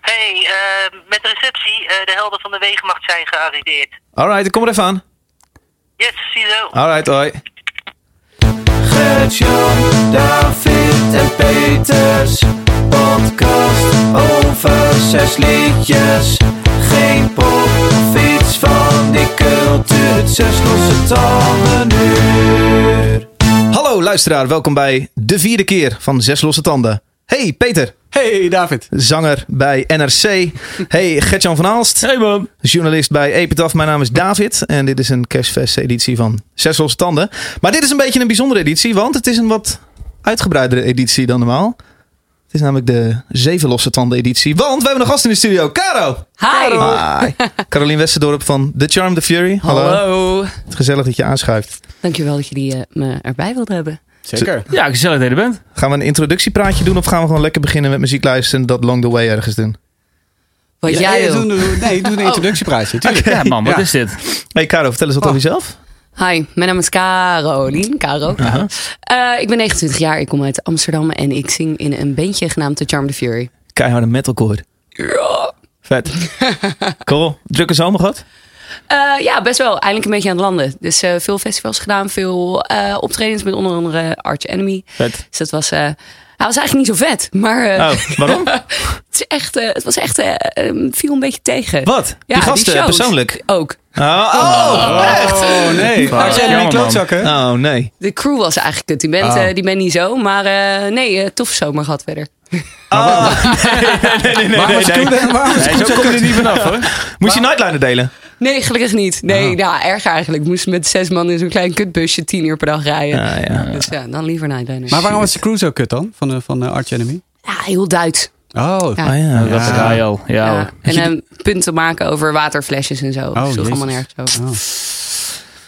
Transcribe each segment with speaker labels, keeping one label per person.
Speaker 1: hey, eh, met de receptie, eh, de helden van de wegenmacht zijn gearriveerd.
Speaker 2: Alright, ik kom er even aan.
Speaker 1: Yes, ziezo.
Speaker 2: Alright, hoi.
Speaker 3: Gert-Jan, David en Peters. Podcast over zes liedjes. Geen pop of iets van die cultuur. Zes losse tanden uur.
Speaker 2: Hallo luisteraar, welkom bij de vierde keer van Zes Losse Tanden. Hey Peter,
Speaker 4: Hey David.
Speaker 2: zanger bij NRC. Hey Gertjan van Aalst,
Speaker 4: Hey man.
Speaker 2: journalist bij Epitaph. Mijn naam is David en dit is een cashfest editie van Zes Losse Tanden. Maar dit is een beetje een bijzondere editie, want het is een wat uitgebreidere editie dan normaal. Het is namelijk de Zeven Losse Tanden editie, want we hebben een gast in de studio. Caro!
Speaker 5: Hi.
Speaker 2: Hi! Caroline Westerdorp van The Charm, The Fury.
Speaker 5: Hallo.
Speaker 2: Het is gezellig dat je aanschuift.
Speaker 5: Dankjewel dat jullie eh, me erbij wilden hebben.
Speaker 4: Zeker.
Speaker 6: Ja, gezellig dat je er bent.
Speaker 2: Gaan we een introductiepraatje doen of gaan we gewoon lekker beginnen met muziek luisteren en dat Long the Way ergens doen?
Speaker 5: Wat
Speaker 4: Ja,
Speaker 5: jij
Speaker 4: nee,
Speaker 5: wil. Oh.
Speaker 4: doe, doe- nee, doe een introductiepraatje. Tuurlijk.
Speaker 6: Ja, man, wat
Speaker 4: Ja.
Speaker 6: is dit?
Speaker 2: Hey Caro, vertel eens wat
Speaker 4: Oh.
Speaker 2: over jezelf.
Speaker 5: Hi, mijn naam is Caroline. Caro. Eh, ik ben 29 jaar. Ik kom uit Amsterdam en ik zing in een bandje genaamd The Charm the Fury.
Speaker 2: Keiharde metalcore. Vet. cool. Drukke zomer gehad?
Speaker 5: Eh, ja, best wel. Eindelijk een beetje aan het landen. Dus eh, veel festivals gedaan, veel eh, optredens met onder andere Arch Enemy.
Speaker 2: Vet.
Speaker 5: Dus dat was. eh, hij was eigenlijk niet zo vet, maar eh,
Speaker 2: Oh, waarom?
Speaker 5: het, is echt, eh, het was echt. eh, eh, viel een beetje tegen.
Speaker 2: Wat?
Speaker 5: Ja,
Speaker 2: die gasten
Speaker 5: shows
Speaker 2: persoonlijk?
Speaker 5: Ook.
Speaker 2: Oh, oh,
Speaker 4: Oh nee.
Speaker 6: Fuck.
Speaker 4: Als jij
Speaker 6: Jammer,
Speaker 4: niet
Speaker 6: man.
Speaker 4: klootzakken.
Speaker 2: Oh, nee.
Speaker 5: De crew was eigenlijk kut. Die band,
Speaker 4: Oh.
Speaker 5: eh, die band niet zo. Maar eh, nee, eh, tof zomer gehad verder.
Speaker 4: Waarom is
Speaker 2: nee.
Speaker 4: Koen- waarom is
Speaker 6: Nee,
Speaker 4: Koen
Speaker 6: zo
Speaker 4: zo
Speaker 6: kom je er
Speaker 4: kort?
Speaker 6: niet vanaf hoor.
Speaker 2: Moest je nightliner delen?
Speaker 5: Nee, gelukkig niet.
Speaker 4: Oh.
Speaker 5: Nee, ja, erg eigenlijk. Moest met zes man in zo'n klein kutbusje tien uur per dag rijden.
Speaker 2: Ja, ja.
Speaker 5: Dus ja, dan liever Nightliner.
Speaker 4: Maar waarom was de crew zo kut dan? Van, eh, van eh, Arch Enemy?
Speaker 5: Ja, heel Duits.
Speaker 4: Oh.
Speaker 5: Ja.
Speaker 2: Ah, ja.
Speaker 6: Dat ga je al. Ja,
Speaker 5: Ja.
Speaker 6: hoor.
Speaker 5: En hem punten maken over waterflesjes en zo. Oh,
Speaker 4: jezus.
Speaker 5: allemaal nergens over.
Speaker 4: Oh.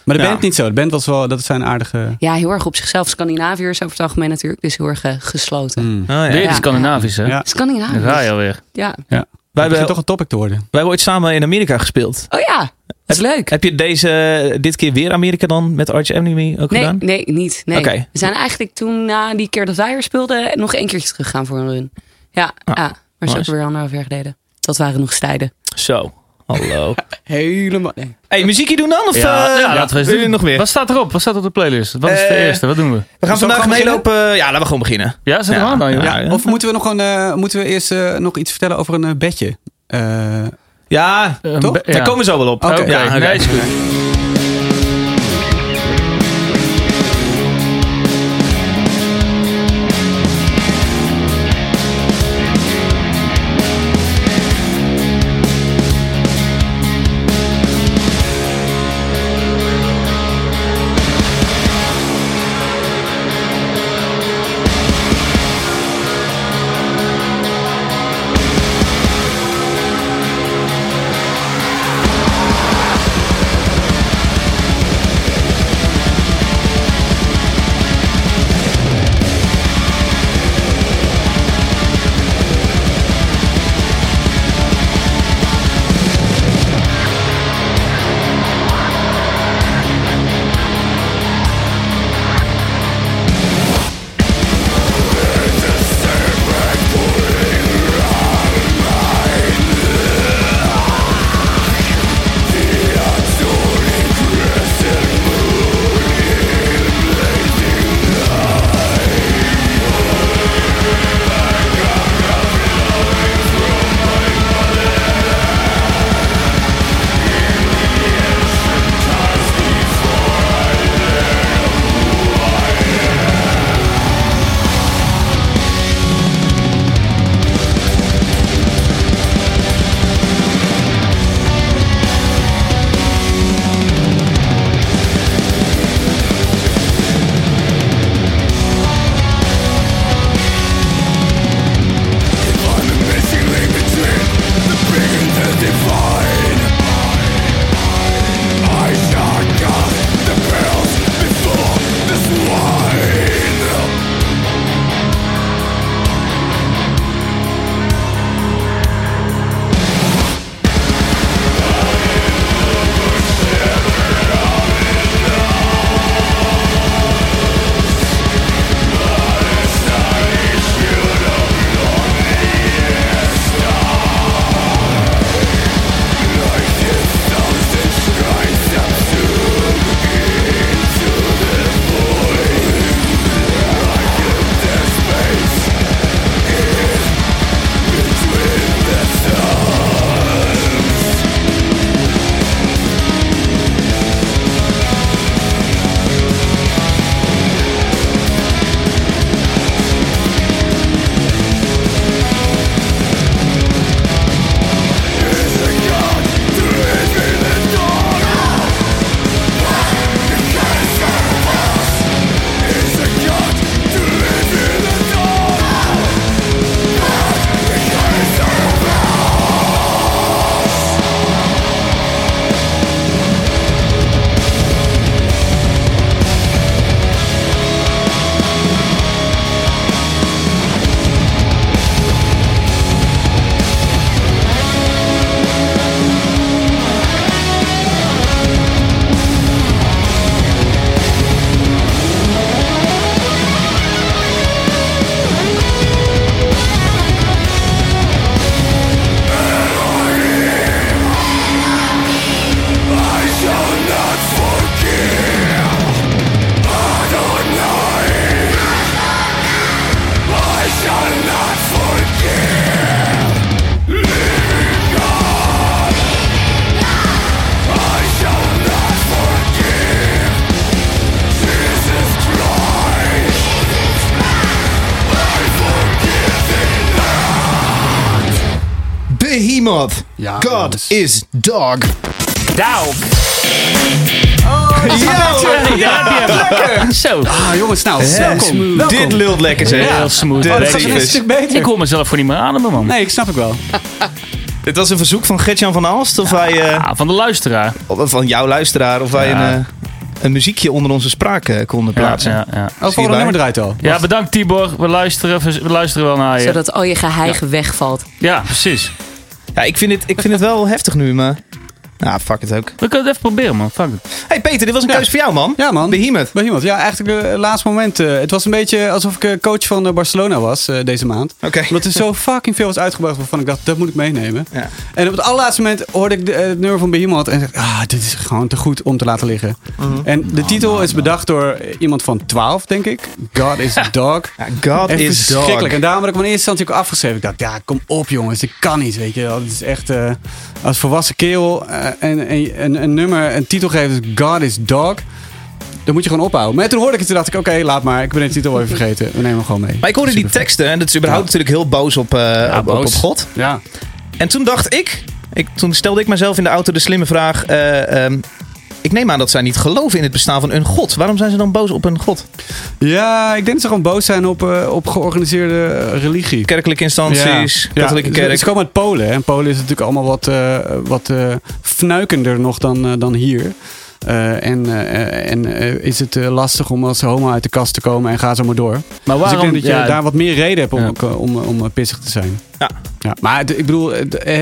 Speaker 4: Maar de
Speaker 2: Ja.
Speaker 4: band niet zo. De band was wel, dat zijn aardige...
Speaker 5: Ja, heel erg op zichzelf. Scandinaviërs over het algemeen natuurlijk. Dus heel erg eh, gesloten.
Speaker 4: Hmm.
Speaker 2: Oh,
Speaker 6: Dit
Speaker 2: ja.
Speaker 6: is Scandinavisch hè?
Speaker 4: Ja.
Speaker 6: Daar ga
Speaker 5: Scandinaviërs.
Speaker 6: je alweer.
Speaker 5: Ja.
Speaker 2: Wij,
Speaker 4: Dat begint
Speaker 2: hebben,
Speaker 4: toch een topic te worden.
Speaker 2: wij hebben ooit samen in Amerika gespeeld.
Speaker 5: Oh ja, dat is leuk.
Speaker 2: Heb je deze, eh, dit keer weer Amerika dan met Arch Enemy ook
Speaker 5: Nee,
Speaker 2: gedaan?
Speaker 5: nee, niet. Nee.
Speaker 2: Oké.
Speaker 5: We zijn eigenlijk toen na die keer dat wij er speelden nog één keertje teruggaan voor een run. Ja,
Speaker 2: Ah,
Speaker 5: ja maar zo ook
Speaker 2: nice.
Speaker 5: weer anderhalf jaar geleden. Dat waren nog stijden.
Speaker 2: Zo. Hallo.
Speaker 5: Helemaal. Nee.
Speaker 2: hey, muziekje doen dan? Of,
Speaker 6: Ja,
Speaker 2: eh,
Speaker 6: ja, laten we eens
Speaker 2: wil je
Speaker 6: doen.
Speaker 2: nog meer?
Speaker 6: Wat staat erop? Wat staat op de playlist? Wat is de
Speaker 2: Eh,
Speaker 6: eerste? Wat doen we?
Speaker 2: we gaan
Speaker 4: Zullen we
Speaker 2: vandaag
Speaker 4: gewoon
Speaker 2: meelopen. Ja, laten we gewoon beginnen.
Speaker 6: Ja, zet
Speaker 2: Ja,
Speaker 6: hem aan dan joh.
Speaker 2: ja.
Speaker 4: Of moeten we, nog een, eh, moeten we eerst eh, nog iets vertellen over een eh, bedje? Eh,
Speaker 2: Ja,
Speaker 6: Eh,
Speaker 4: Toch?
Speaker 6: be-
Speaker 2: daar
Speaker 6: ja.
Speaker 2: komen we zo wel op.
Speaker 6: Oké,
Speaker 2: Ja, oké.
Speaker 6: nee, is goed.
Speaker 7: Thank
Speaker 2: Behemoth.
Speaker 4: Ja,
Speaker 2: God
Speaker 4: jongens.
Speaker 2: is dog.
Speaker 6: Down.
Speaker 2: Ja,
Speaker 6: Zo.
Speaker 4: Ah, jongens, nou, welkom.
Speaker 2: Welkom. Dit
Speaker 4: welkom.
Speaker 2: lult lekker zeg.
Speaker 6: Heel smooth.
Speaker 2: Dat
Speaker 6: Weet
Speaker 2: gaat
Speaker 6: ik.
Speaker 2: een
Speaker 4: stuk beter.
Speaker 6: Ik hoor mezelf gewoon niet meer ademen, man.
Speaker 4: Nee, ik snap ik wel. Oh,
Speaker 2: Dit was een verzoek van Gertjan van Aalst. Of wij, eh,
Speaker 6: Ah, van de luisteraar.
Speaker 2: van jouw luisteraar, of wij
Speaker 6: Ja.
Speaker 2: een, eh, een muziekje onder onze spraak eh, konden
Speaker 6: Ja,
Speaker 2: plaatsen.
Speaker 6: ja, ja.
Speaker 4: Oh, volgende nummer draait al.
Speaker 6: ja, bedankt Tibor. We luisteren, we luisteren wel naar je.
Speaker 5: Zodat al je geheig wegvalt.
Speaker 6: Ja, precies.
Speaker 2: Ja, ik vind, het, ik vind het wel heftig nu, maar... Nou, fuck het ook.
Speaker 6: We kunnen het even proberen, man. Fuck it.
Speaker 2: hey Peter, dit was een
Speaker 4: Ja.
Speaker 2: keuze voor jou, man.
Speaker 4: Ja, man.
Speaker 2: Behemoth.
Speaker 4: Bij iemand. Ja, eigenlijk het laatste moment. eh, het was een beetje alsof ik eh, coach van eh, Barcelona was eh, deze maand.
Speaker 2: Oké.
Speaker 4: Omdat er zo fucking veel was uitgebracht waarvan ik dacht, dat moet ik meenemen.
Speaker 2: Ja.
Speaker 4: En op het allerlaatste moment hoorde ik de, eh, het nummer van Behemoth en dacht, ah, dit is gewoon te goed om te laten liggen. En de titel is bedacht door iemand van 12, denk ik. God is a dog.
Speaker 2: Ja, God
Speaker 4: Echt
Speaker 2: is dog.
Speaker 4: verschrikkelijk. En daarom had ik hem in eerste instantie ook afgeschreven. Ik dacht, ja, kom op jongens, dit kan niet, weet je wel. Dit is echt, eh, als volwassen kerel eh, en, en, een- een nummer, een titel geven, dus God is dog. Dan moet je gewoon ophouden. Maar toen hoorde ik het, toen dacht ik, oké, laat maar. Ik ben de titel wel even vergeten. We nemen hem gewoon mee.
Speaker 2: Maar ik hoorde die teksten en dat is überhaupt natuurlijk heel boos op, eh, op, op-
Speaker 4: boos.
Speaker 2: op God.
Speaker 4: Ja.
Speaker 2: En toen dacht ik, ik, toen stelde ik mezelf in de auto de slimme vraag. eh, ehm, ik neem aan dat zij niet geloven in het bestaan van een God. Waarom zijn ze dan boos op een God?
Speaker 4: ja, ik denk dat ze gewoon boos zijn op, eh, op georganiseerde eh, religie.
Speaker 2: Kerkelijke instanties, katholieke
Speaker 4: Ja, Ze,
Speaker 2: kerk.
Speaker 4: ze komen uit Polen. hè. En Polen is natuurlijk allemaal wat, eh, wat eh, fnuikender nog dan, eh, dan hier. Eh, en eh, en eh, is het eh, lastig om als homo uit de kast te komen en ga zo maar door.
Speaker 6: Maar
Speaker 4: dus ik
Speaker 6: waarom...
Speaker 4: denk dat je
Speaker 6: ja,
Speaker 4: daar wat meer reden hebt om,
Speaker 6: Ja.
Speaker 4: ook, eh, om, om eh, pissig te zijn.
Speaker 2: Ja.
Speaker 4: Ja, maar het- ik bedoel, het- eh,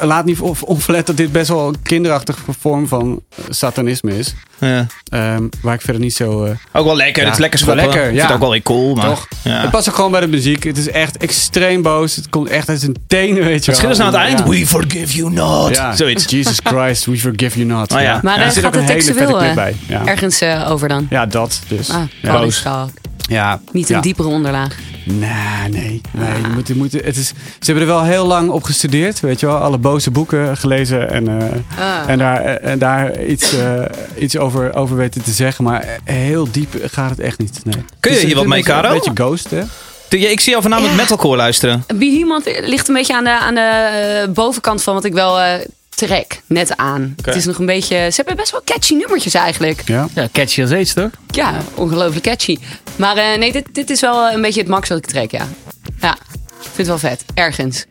Speaker 4: laat niet on- onverlet dat dit best wel een kinderachtige vorm van eh, satanisme is.
Speaker 2: Ja.
Speaker 4: Ehm, waar ik verder niet zo... eh,
Speaker 2: Ook wel lekker,
Speaker 4: Ja,
Speaker 2: het is lekker
Speaker 4: het is
Speaker 2: schoppen.
Speaker 4: wel lekker,
Speaker 2: Ik vind
Speaker 4: ja.
Speaker 2: het ook wel weer cool, maar...
Speaker 4: Toch?
Speaker 2: Ja.
Speaker 4: Het past ook gewoon bij de muziek. Het is echt extreem boos. Het komt echt uit zijn tenen, weet je
Speaker 2: Het schil is
Speaker 4: wel.
Speaker 2: aan het eind.
Speaker 4: Ja.
Speaker 2: We forgive you not.
Speaker 4: Ja,
Speaker 2: Zoiets.
Speaker 4: Jesus Christ, we forgive you not.
Speaker 2: Oh ja. Maar
Speaker 5: daar
Speaker 4: Er zit
Speaker 5: gaat
Speaker 4: ook een
Speaker 5: het
Speaker 4: hele
Speaker 5: seksueel,
Speaker 4: vette clip
Speaker 5: hè?
Speaker 4: bij. Ja.
Speaker 5: Ergens eh, over dan.
Speaker 4: ja, dat dus.
Speaker 5: Ah,
Speaker 4: ja.
Speaker 5: God is dog.
Speaker 4: Ja.
Speaker 5: Niet een
Speaker 4: Ja.
Speaker 5: Ah. diepere onderlaag.
Speaker 4: Nee, nee. nee je moet, je moet, het is, ze hebben er wel heel lang op gestudeerd, weet je wel. Alle boze boeken gelezen en, eh,
Speaker 5: Ah.
Speaker 4: en daar, en daar iets, eh, iets over, over weten te zeggen. Maar heel diep gaat het echt niet. Nee.
Speaker 2: Kun je hier wat
Speaker 4: het
Speaker 2: mee,
Speaker 4: is Een
Speaker 2: Caro?
Speaker 4: beetje ghost, hè?
Speaker 2: Ja, ik zie jou voornamelijk
Speaker 5: Ja.
Speaker 2: metalcore luisteren.
Speaker 5: Behemoth ligt een beetje aan de, aan de eh, bovenkant van wat ik wel eh, trek net aan. Het is nog een beetje... Ze hebben best wel catchy nummertjes eigenlijk.
Speaker 4: Ja.
Speaker 6: ja, catchy als aids, toch?
Speaker 5: Ja, ongelooflijk catchy. Maar eh, nee, dit, dit is wel een beetje het max wat ik trek, ja. Ja, ik vind het wel vet. Ergens.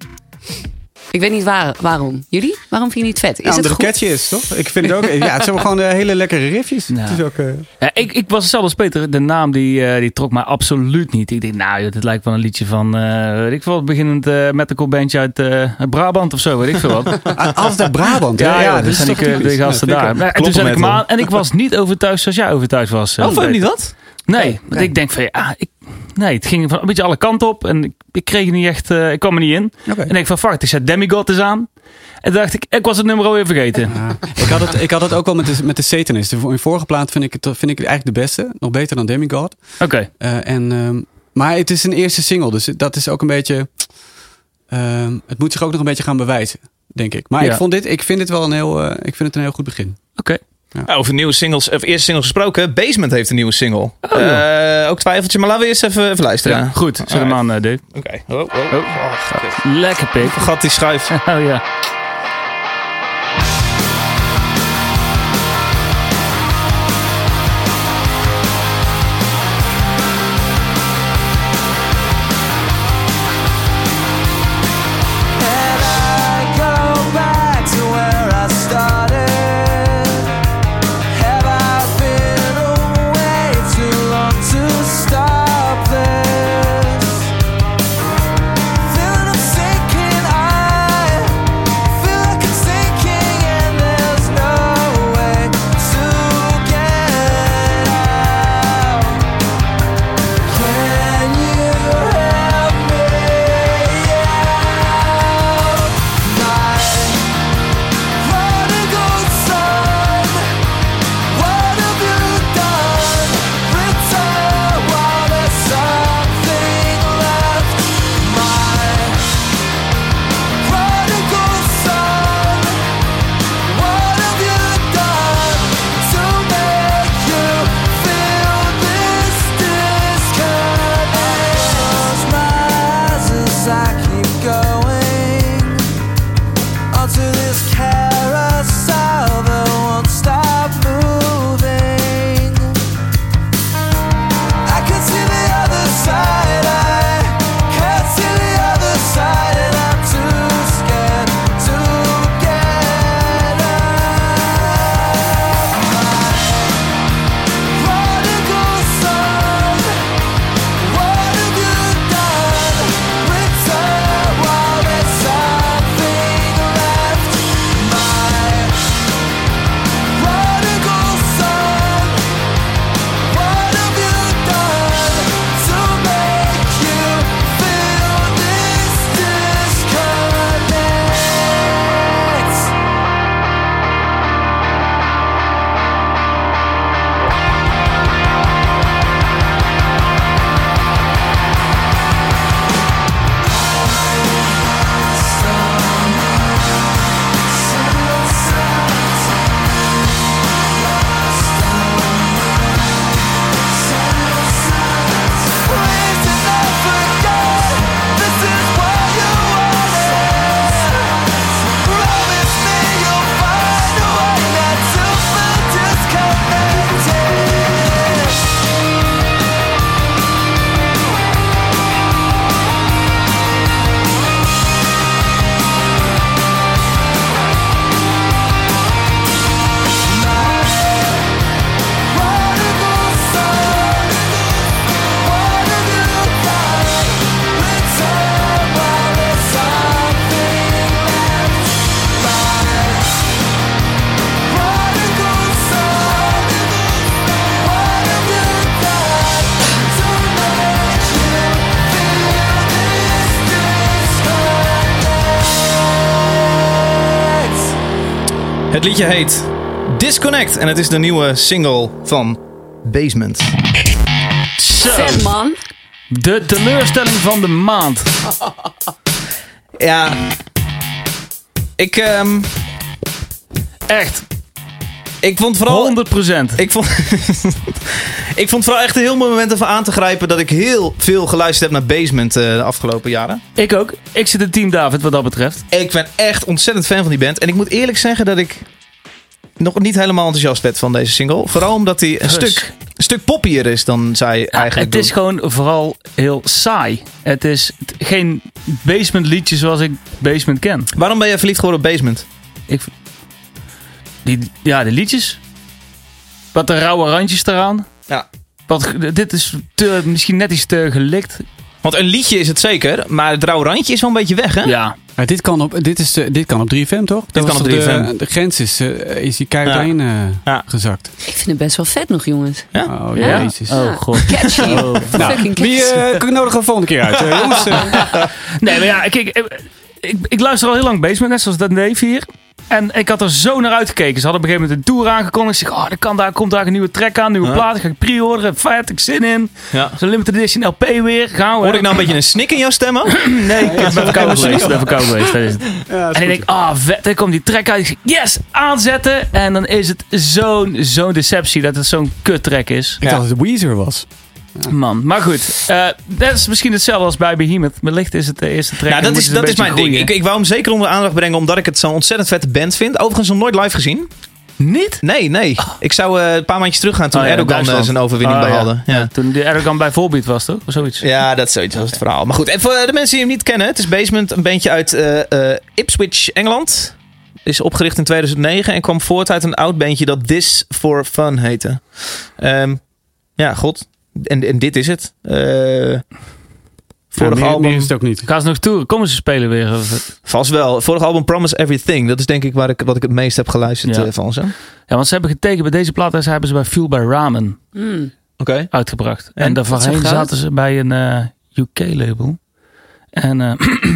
Speaker 5: Ik weet niet waar, waarom. Jullie? Waarom vind je het vet?
Speaker 4: Ja,
Speaker 5: Is het
Speaker 4: Nou, omdat
Speaker 5: goed?
Speaker 4: het catchy is, toch? Ik vind het ook... Ja, het zijn wel gewoon eh, hele lekkere riffjes.
Speaker 2: Nou.
Speaker 4: Het is ook... eh,
Speaker 6: Ja, ik, ik was hetzelfde als Peter. De naam die, eh, die trok mij absoluut niet. Ik dacht, nou, joh, dit lijkt wel een liedje van, eh weet ik veel wat, beginnend eh metalcore bandje uit eh, uit Brabant of zo, weet ik veel wat.
Speaker 4: Ah, Altijd uit Brabant. hè?
Speaker 6: Ja, ja,
Speaker 4: dat
Speaker 6: dus
Speaker 4: is
Speaker 6: zijn
Speaker 4: toch
Speaker 6: die, eh,
Speaker 4: typisch.
Speaker 6: die gasten
Speaker 4: Ja,
Speaker 6: daar.
Speaker 4: vind ik
Speaker 6: Maar- en toen zet ik hem
Speaker 2: Kloppenmetal.
Speaker 6: aan en ik was niet overtuigd zoals jij overtuigd was. eh,
Speaker 2: Oh, vond je
Speaker 6: Peter.
Speaker 2: niet dat?
Speaker 6: Nee, want ik denk van, ja, ah, ik, nee, het ging van een beetje alle kanten op en ik, ik kreeg er niet echt, eh, ik kwam er niet in.
Speaker 4: ook. Oké.
Speaker 6: En ik van, fuck, ik zet Demigod eens aan. En toen dacht ik, ik was het nummer alweer vergeten.
Speaker 4: Ja. Ik, had het, ik had het ook wel met de, met de Satanist. In vorige plaat vind ik, het, vind ik het eigenlijk de beste. Nog beter dan Demigod.
Speaker 6: Oké,
Speaker 4: Eh, en, ehm, maar het is een eerste single. Dus dat is ook een beetje... ehm, het moet zich ook nog een beetje gaan bewijzen. Denk ik. Maar ik,
Speaker 6: Ja.
Speaker 4: vond dit, ik vind dit wel een heel, eh, ik vind het een heel goed begin.
Speaker 6: oké.
Speaker 2: Nou, over nieuwe singles, of eerste singles gesproken. Basement heeft een nieuwe single. Eh, ook twijfeltje, maar laten we eerst even, even luisteren.
Speaker 6: Ja, goed, zet hem
Speaker 2: Alright.
Speaker 6: aan, eh, Dave.
Speaker 2: Oké. Oh, oh.
Speaker 6: Lekker pik.
Speaker 2: Vergat die schuif.
Speaker 6: Oh ja.
Speaker 3: And I go back to where I started. Have I been away too long to stop this? Feel I'm sinking, I feel like I'm sinking, and there's no way to get out. Can you help me out? My prodigal son, what have you done? Return while there's something left. My prodigal son, what have you done to make you feel this disconnect? Close my eyes as I keep going.
Speaker 2: Het liedje heet Disconnect en het is de nieuwe single van Basement.
Speaker 5: Vet
Speaker 4: Oh.
Speaker 5: man.
Speaker 6: De teleurstelling van de maand.
Speaker 2: Ja, ik, ehm,
Speaker 6: Echt,
Speaker 2: ik vond vooral...
Speaker 6: 100
Speaker 2: Ik vond, ik vond vooral echt een heel mooi moment even aan te grijpen dat ik heel veel geluisterd heb naar Basement eh, de afgelopen jaren.
Speaker 6: Ik ook. Ik zit in team David wat dat betreft.
Speaker 2: Ik ben echt ontzettend fan van die band. En ik moet eerlijk zeggen dat ik nog niet helemaal enthousiast werd van deze single. Vooral omdat hij een
Speaker 6: Rus.
Speaker 2: stuk, een stuk poppier is dan zij eigenlijk
Speaker 6: het is
Speaker 2: doen.
Speaker 6: gewoon vooral heel saai. Het is t- geen basement liedje zoals ik basement ken.
Speaker 2: Waarom ben jij verliefd geworden op Basement?
Speaker 6: Ik, v- die, ja, de liedjes. Wat de rauwe randjes eraan.
Speaker 2: Ja.
Speaker 6: Wat, g- dit is te, misschien net iets te gelikt.
Speaker 2: Want een liedje is het zeker, maar het rauw randje is wel een beetje weg, hè?
Speaker 6: Ja,
Speaker 4: Maar dit, kan op, dit, is, de- dit kan op 3FM, toch? Dat
Speaker 2: kan
Speaker 4: was
Speaker 2: op
Speaker 4: toch
Speaker 2: 3FM.
Speaker 4: De, de grens is, eh, is die keihard
Speaker 2: Ja.
Speaker 4: heen eh,
Speaker 2: Ja.
Speaker 4: gezakt.
Speaker 5: Ik vind het best wel vet nog, jongens.
Speaker 4: Oh,
Speaker 6: Ja?
Speaker 4: jezus.
Speaker 6: Oh, god.
Speaker 5: Catchy.
Speaker 6: Oh.
Speaker 5: Fucking catchy.
Speaker 4: Wie eh kan ik nodig een volgende keer uit? Eh, jongens, eh,
Speaker 6: Nee, maar ja, kijk, eh, ik, ik luister al heel lang Basement, net zoals dat neef hier. En ik had er zo naar uitgekeken. Ze hadden op een gegeven moment een tour aangekondigd. Ik zeg, oh, er kan daar, komt daar een nieuwe track aan, nieuwe
Speaker 2: Ja.
Speaker 6: plaat. Ik Ga ik pre-orderen, vet, ik heb zin in.
Speaker 2: Ja.
Speaker 6: Zo'n limited edition LP weer, gaan we.
Speaker 2: Hoor ik nou een beetje een snik in jouw stemmen?
Speaker 6: Nee, ik ben verkouden geweest. Ik ben verkouden geweest, dat is het.
Speaker 4: ja, is
Speaker 6: En
Speaker 4: goed.
Speaker 6: ik denk, ah, vet, dan komt die track uit. Ik zeg, yes, aanzetten. En dan is het zo'n zo'n deceptie dat het zo'n kut track is.
Speaker 4: Ik dacht dat het Weezer was.
Speaker 6: Man, maar goed. eh, dat is misschien hetzelfde als bij Behemoth. Wellicht is het de eerste track.
Speaker 2: Nou,
Speaker 6: en
Speaker 2: dat is,
Speaker 6: moeten ze
Speaker 2: dat
Speaker 6: een
Speaker 2: is mijn
Speaker 6: beetje
Speaker 2: ding. Ik,
Speaker 6: groeien.
Speaker 2: ik wou hem zeker onder de aandacht brengen, omdat ik het zo'n ontzettend vette band vind. Overigens nog nooit live gezien.
Speaker 6: Niet?
Speaker 2: Nee, nee. Ik zou eh, een paar maandjes terug gaan toen
Speaker 6: Oh ja,
Speaker 2: Erdogan eh,
Speaker 6: Duitsland.
Speaker 2: zijn overwinning
Speaker 6: Oh ja.
Speaker 2: behaalde. Ja.
Speaker 6: Ja, toen de Erdogan bij Volbeat was, toch? Of zoiets.
Speaker 2: Ja, dat is zoiets als het verhaal. Maar goed, en voor de mensen die hem niet kennen, het is Basement, een bandje uit eh, eh, Ipswich, Engeland. Is opgericht in 2009 en kwam voort uit een oud bandje dat This for Fun heette. Ehm, ja, god. En, en dit is het. Eh,
Speaker 4: Ja,
Speaker 2: vorig
Speaker 4: meer-
Speaker 2: album.
Speaker 4: meer is het ook niet.
Speaker 6: Gaan ze nog toeren? Komen ze spelen weer? Of-
Speaker 2: Vast wel. Vorig album Promise Everything. Dat is denk ik waar ik, wat ik het meest heb geluisterd
Speaker 6: Ja.
Speaker 2: eh, van ze. Oké.
Speaker 6: Ja, want ze hebben getekend bij deze plaat. en Ze hebben ze bij Fuel by Ramen
Speaker 5: Mm.
Speaker 6: uitgebracht. En,
Speaker 2: En?
Speaker 5: Wat
Speaker 6: daarvoorheen
Speaker 5: zo groot?
Speaker 6: zaten ze bij een eh, UK-label. En eh,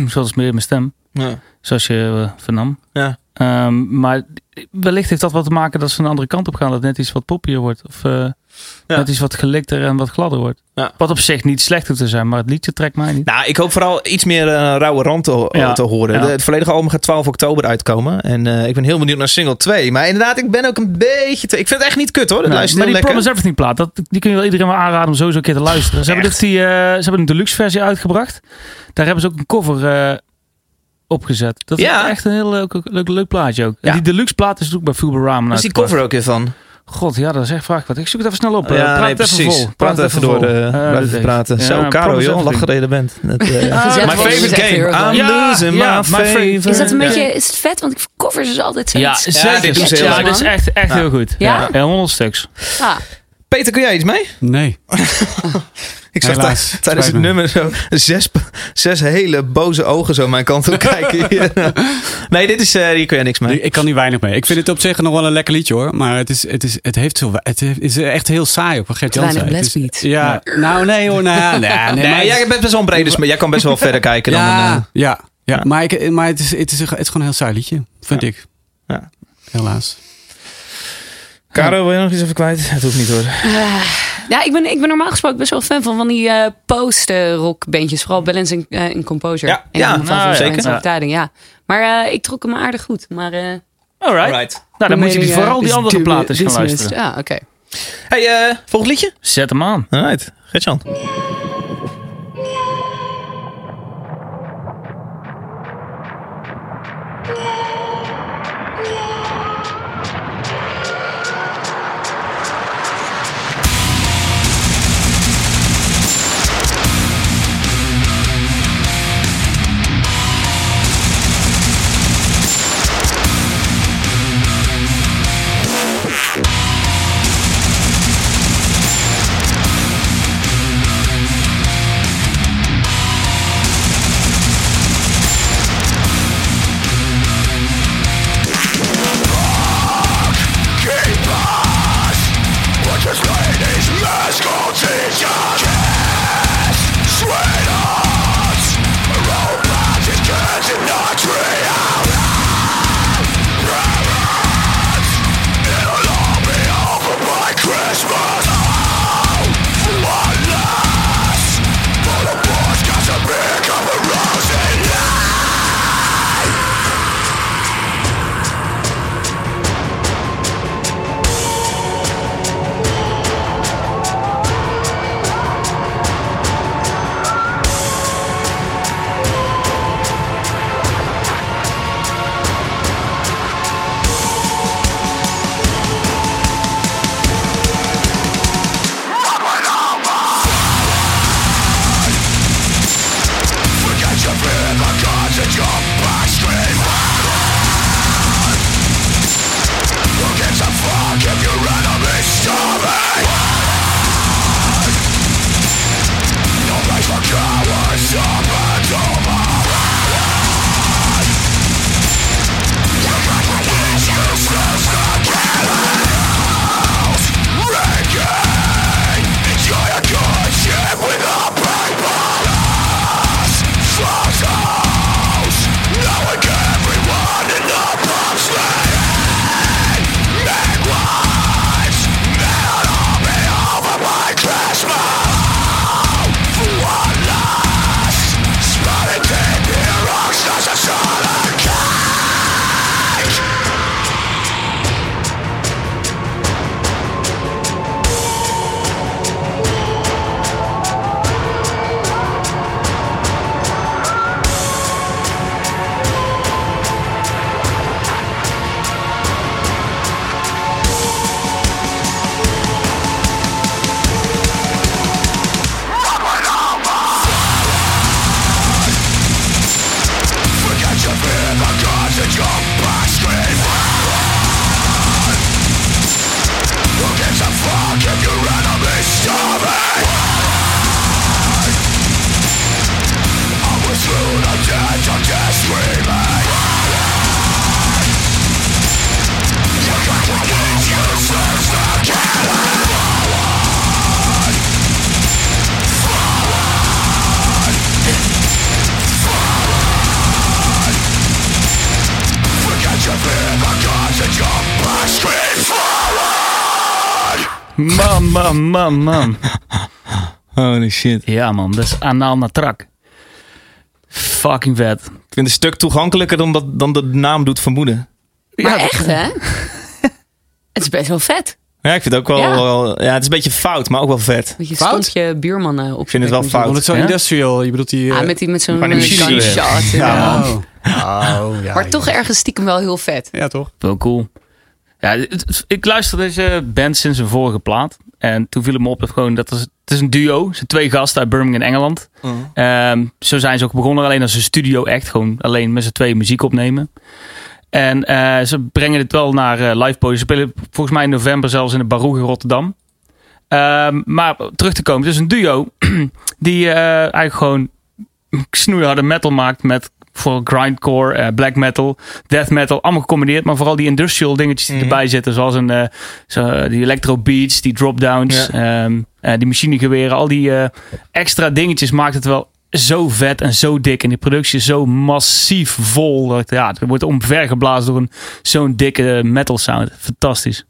Speaker 6: zoals meer in mijn stem,
Speaker 2: Ja.
Speaker 6: zoals je eh, vernam.
Speaker 2: Ja.
Speaker 6: Ehm, maar wellicht heeft dat wat te maken dat ze een andere kant op gaan. Dat het net iets wat poppier wordt. Of eh,
Speaker 2: Ja.
Speaker 6: net iets wat gelikter en wat gladder wordt.
Speaker 2: Ja.
Speaker 6: Wat op zich niet slecht hoeft te zijn, maar het liedje trekt mij niet.
Speaker 2: Nou, ik hoop vooral iets meer eh, rauwe rand te, ho-
Speaker 6: Ja,
Speaker 2: te horen.
Speaker 6: ja.
Speaker 2: De- het volledige album gaat 12 oktober uitkomen. En eh, ik ben heel benieuwd naar single 2. Maar inderdaad, ik ben ook een beetje... te- ik vind het echt niet kut hoor. Dat
Speaker 6: Nee,
Speaker 2: luistert
Speaker 6: maar
Speaker 2: heel
Speaker 6: die
Speaker 2: lekker.
Speaker 6: Promise Everything plaat, dat, die kun je wel iedereen maar aanraden om sowieso een keer te luisteren. Ze hebben, dit, die, eh, ze hebben een deluxe versie uitgebracht. Daar hebben ze ook een cover eh opgezet. Dat is
Speaker 2: Ja.
Speaker 6: echt een heel leuk, leuk, leuk plaatje ook.
Speaker 2: Ja.
Speaker 6: En die deluxe plaat is ook bij Fuber Ramen
Speaker 2: Waar is die cover ook weer van?
Speaker 6: God, ja, dat is echt vraag. Wat. Ik zoek het even snel op. eh.
Speaker 2: ja,
Speaker 6: praat
Speaker 2: nee,
Speaker 6: het even
Speaker 2: precies.
Speaker 6: vol.
Speaker 2: Praat even door.
Speaker 6: vol.
Speaker 2: eh
Speaker 6: Eh,
Speaker 2: blijf
Speaker 6: dat
Speaker 2: even
Speaker 6: is- Ah,
Speaker 2: praten.
Speaker 6: ja,
Speaker 2: Zo, Caro,
Speaker 6: Promise
Speaker 2: joh.
Speaker 6: Everything.
Speaker 2: Lachgereden bent. Dat, eh, ja.
Speaker 5: Gezet
Speaker 2: My
Speaker 5: worden is
Speaker 2: favorite
Speaker 5: echt heel erg
Speaker 2: game. I'm
Speaker 6: leuk. Ja,
Speaker 2: losing
Speaker 6: ja,
Speaker 2: my
Speaker 6: my favorite.
Speaker 2: favorite.
Speaker 5: Is dat een beetje... Is het vet? Want ik covers is altijd zo.
Speaker 6: Ja, zeker.
Speaker 2: dit doen ze heel
Speaker 6: ja,
Speaker 2: erg.
Speaker 6: dit is echt, echt heel goed.
Speaker 5: Ja?
Speaker 6: Ja, 100 stuks.
Speaker 5: Ah,
Speaker 2: Peter, kun jij iets mee?
Speaker 4: Nee.
Speaker 2: Ik zag
Speaker 4: Helaas,
Speaker 2: tij- tijdens het
Speaker 4: spijt me.
Speaker 2: nummer zo zes, zes hele boze ogen zo mijn kant op kijken. Ja. nee, dit is, eh, hier kun je niks mee.
Speaker 4: Ik, ik kan hier weinig mee. Ik vind het op zich nog wel een lekker liedje hoor. Maar het is, het is, het heeft zo, het heeft- is echt heel saai op wat Gert
Speaker 5: Te
Speaker 4: Jan
Speaker 5: weinig
Speaker 4: zei. Het is-
Speaker 5: blessbeats.
Speaker 4: Ja, nou nee hoor. Nou, ja, nou, nee,
Speaker 2: Nee,
Speaker 4: maar-
Speaker 2: jij bent best wel een brede smaak. Jij kan best wel verder kijken dan een... eh,
Speaker 4: ja, ja, ja,
Speaker 2: Ja.
Speaker 4: maar, ik, maar het, is, het, is, het is gewoon een heel saai liedje, vind ik.
Speaker 2: Ja.
Speaker 4: Helaas.
Speaker 2: Caro, wil je nog iets even kwijt? Het hoeft niet hoor.
Speaker 5: Eh, Ja, ik ben, ik ben normaal gesproken best wel fan van, van die eh post-rockbandjes. Vooral Balance en eh, en Composure.
Speaker 2: Ja,
Speaker 5: En
Speaker 2: ja,
Speaker 5: dan van
Speaker 6: nou,
Speaker 5: Vincent
Speaker 6: zeker.
Speaker 5: en Overtuiging, ja. Maar eh, ik trok hem aardig goed. Maar, eh,
Speaker 6: Alright.
Speaker 2: Alright.
Speaker 6: Nou, dan
Speaker 5: de
Speaker 6: moet je die,
Speaker 5: mening, eh,
Speaker 6: vooral die
Speaker 5: is
Speaker 6: andere
Speaker 5: duly
Speaker 6: plaat eens gaan
Speaker 5: dismissed.
Speaker 6: luisteren.
Speaker 5: Ja, oké.
Speaker 2: Hey, eh volgend liedje?
Speaker 6: Zet hem aan.
Speaker 2: Alright, Gertjan.
Speaker 3: Thank
Speaker 6: Man, man, man, man.
Speaker 2: Holy shit.
Speaker 6: Ja, man, dat is anaal naar trak. Fucking vet.
Speaker 2: Ik vind het een stuk toegankelijker dan, dat, dan de naam doet vermoeden.
Speaker 5: Maar
Speaker 6: Ja,
Speaker 5: echt, hè? Het is best wel vet.
Speaker 2: Ja, ik vind het ook wel...
Speaker 5: Ja.
Speaker 2: wel- ja, het is een beetje fout, maar ook wel vet.
Speaker 5: Want je
Speaker 4: Fout?
Speaker 5: stond je buurman eh, op.
Speaker 2: Ik vind het wel
Speaker 4: Want
Speaker 2: fout.
Speaker 4: het is zo
Speaker 6: Ja?
Speaker 4: industrial. Je bedoelt die... eh,
Speaker 5: Ah, met, die, met zo'n
Speaker 2: Maar die
Speaker 5: eh,
Speaker 2: machine weer.
Speaker 5: gunshot.
Speaker 4: ja,
Speaker 5: inderdaad.
Speaker 4: man. Oh, ja,
Speaker 5: Maar toch
Speaker 4: ja.
Speaker 5: ergens stiekem wel heel vet.
Speaker 4: Ja, toch?
Speaker 6: Wel cool. Ja, het- het- ik luister deze band sinds hun vorige plaat. En toen viel het me op dat gewoon dat is, het is een duo. Het zijn twee gasten uit Birmingham, Engeland. Ehm, zo zijn ze ook begonnen alleen als een studio act. Gewoon alleen met z'n twee muziek opnemen. En eh, ze brengen het wel naar eh, live podium. Ze spelen volgens mij in november zelfs in de Baroeg in Rotterdam. Ehm, maar terug te komen, het is een duo die eh, eigenlijk gewoon snoeiharde metal maakt met vooral grindcore, eh, black metal, death metal, allemaal gecombineerd, maar vooral die industrial dingetjes die
Speaker 2: Mhm.
Speaker 6: erbij zitten, zoals een, eh, zo, die electro beats, die drop downs, ehm, eh, die machinegeweren, al die eh, extra dingetjes maakt het wel zo vet en zo dik en die productie is zo massief vol. Dat, ja, het wordt omvergeblazen door een zo'n dikke metal sound. Fantastisch.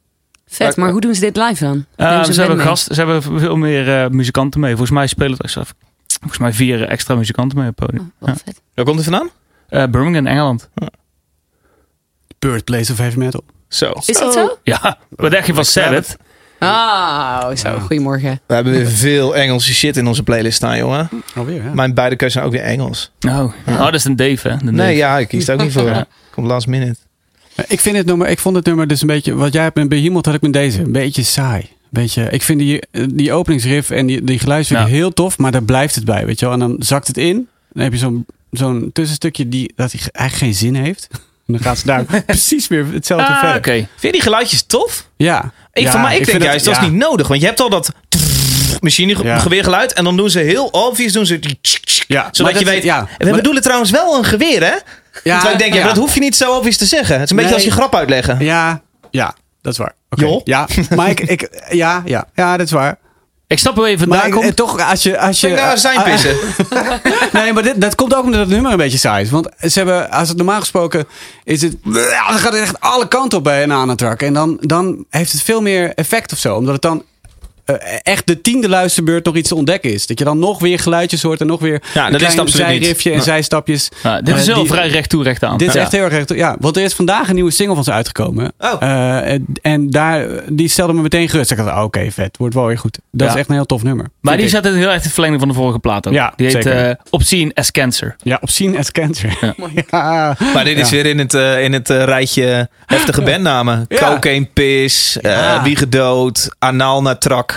Speaker 5: Vet, maar hoe doen ze dit live dan?
Speaker 6: Eh,
Speaker 5: Nemen
Speaker 6: ze,
Speaker 5: een
Speaker 6: hebben
Speaker 5: band mee?
Speaker 6: gast, ze hebben veel meer eh, muzikanten mee. Volgens mij spelen er zelf- volgens mij vier eh, extra muzikanten mee op het podium.
Speaker 5: Oh, wel vet.
Speaker 2: Waar komt het vandaan?
Speaker 4: Oh.
Speaker 6: Eh, Birmingham, Engeland.
Speaker 4: Birthplace of heavy metal.
Speaker 2: Zo.
Speaker 5: Is dat zo?
Speaker 6: Ja, wat dacht je van Sabbath?
Speaker 5: Ah, zo. Goedemorgen.
Speaker 2: We hebben weer veel Engelse shit in onze playlist staan, jongen.
Speaker 4: Alweer, ja.
Speaker 2: Mijn beide keuzes zijn ook weer Engels.
Speaker 6: Oh, oh, dat is een Dave, hè? De Dave.
Speaker 2: Nee, ja, ik kies er ook niet voor.
Speaker 6: Ja.
Speaker 2: Komt last minute.
Speaker 4: Ik, vind het nummer, ik vond het nummer dus een beetje... Wat jij hebt met Behemoth had ik met deze. Een beetje saai. Beetje, ik vind die, die openingsriff en die, die geluidstuk
Speaker 6: Ja.
Speaker 4: heel tof, maar daar blijft het bij, weet je wel. En dan zakt het in. Dan heb je zo'n zo'n tussenstukje die, dat die ge- eigenlijk geen zin heeft. En dan gaat ze daar precies weer hetzelfde
Speaker 6: Ah, oké.
Speaker 4: verder.
Speaker 2: Vind je die geluidjes tof?
Speaker 4: Ja.
Speaker 2: Ik,
Speaker 4: ja,
Speaker 2: van mij, ik,
Speaker 4: vind
Speaker 2: denk juist, dat
Speaker 4: ja.
Speaker 2: is niet nodig. Want je hebt al dat machinegeweergeluid. En dan doen ze heel obvious, doen ze die tsk, tsk,
Speaker 4: Ja, maar
Speaker 2: zodat je
Speaker 4: dat-
Speaker 2: weet...
Speaker 4: ja,
Speaker 2: we
Speaker 4: maar-
Speaker 2: bedoelen trouwens wel een geweer, hè?
Speaker 4: Ja,
Speaker 2: Terwijl ik denk, ja,
Speaker 4: ja.
Speaker 2: dat hoef je niet zo obvious te zeggen. Het is een beetje
Speaker 4: Nee.
Speaker 2: als je grap uitleggen.
Speaker 4: Ja, ja, dat is waar. Oké.
Speaker 2: Joh.
Speaker 4: Ja, maar ik, ik, ja, ja, ja, dat is waar.
Speaker 6: Ik snap wel even
Speaker 4: Maar
Speaker 6: vandaan
Speaker 4: ik,
Speaker 6: komt.
Speaker 4: eh, toch, als je... Als je
Speaker 2: Denk nou, zijn
Speaker 4: ah, ah,
Speaker 2: pissen.
Speaker 4: Nee, maar dit, dat komt ook omdat het nummer een beetje saai is. Want ze hebben, als het normaal gesproken is het... Ja, Dan gaat het echt alle kanten op bij een anatrak. En dan, dan heeft het veel meer effect of zo. Omdat het dan eh, echt de tiende luisterbeurt nog iets te ontdekken is. Dat je dan nog weer geluidjes hoort en nog weer
Speaker 2: dat is
Speaker 4: een
Speaker 2: het
Speaker 4: klein
Speaker 2: absoluut niet.
Speaker 4: zijriffje en
Speaker 2: Ja.
Speaker 4: zijstapjes.
Speaker 6: Nou, dit is
Speaker 4: Eh,
Speaker 6: wel
Speaker 4: die-
Speaker 6: vrij recht toe, recht aan.
Speaker 4: Dit is
Speaker 6: Ja.
Speaker 4: echt heel erg... recht- Ja, want er is vandaag een nieuwe single van ze uitgekomen.
Speaker 2: Oh.
Speaker 4: Eh, en- en daar, die stelde me meteen gerust. Ik dacht, oh, oké, vet. Wordt wel weer goed. Dat
Speaker 6: Ja.
Speaker 4: is echt een heel tof nummer.
Speaker 6: Maar
Speaker 4: Vind
Speaker 6: die
Speaker 4: ik.
Speaker 6: zat in heel erg in het verlengde van de vorige plaat ook.
Speaker 4: Ja,
Speaker 6: die heet
Speaker 4: zeker.
Speaker 6: eh, Obscene as Cancer.
Speaker 4: Ja, obscene as cancer.
Speaker 6: Ja.
Speaker 4: Ja.
Speaker 2: Maar dit is
Speaker 4: Ja.
Speaker 2: weer in het, eh, in het eh, rijtje heftige bandnamen.
Speaker 4: Ja.
Speaker 2: Cocaine Piss, eh,
Speaker 4: Ja.
Speaker 2: Wie gedood, Anaal naar Trak.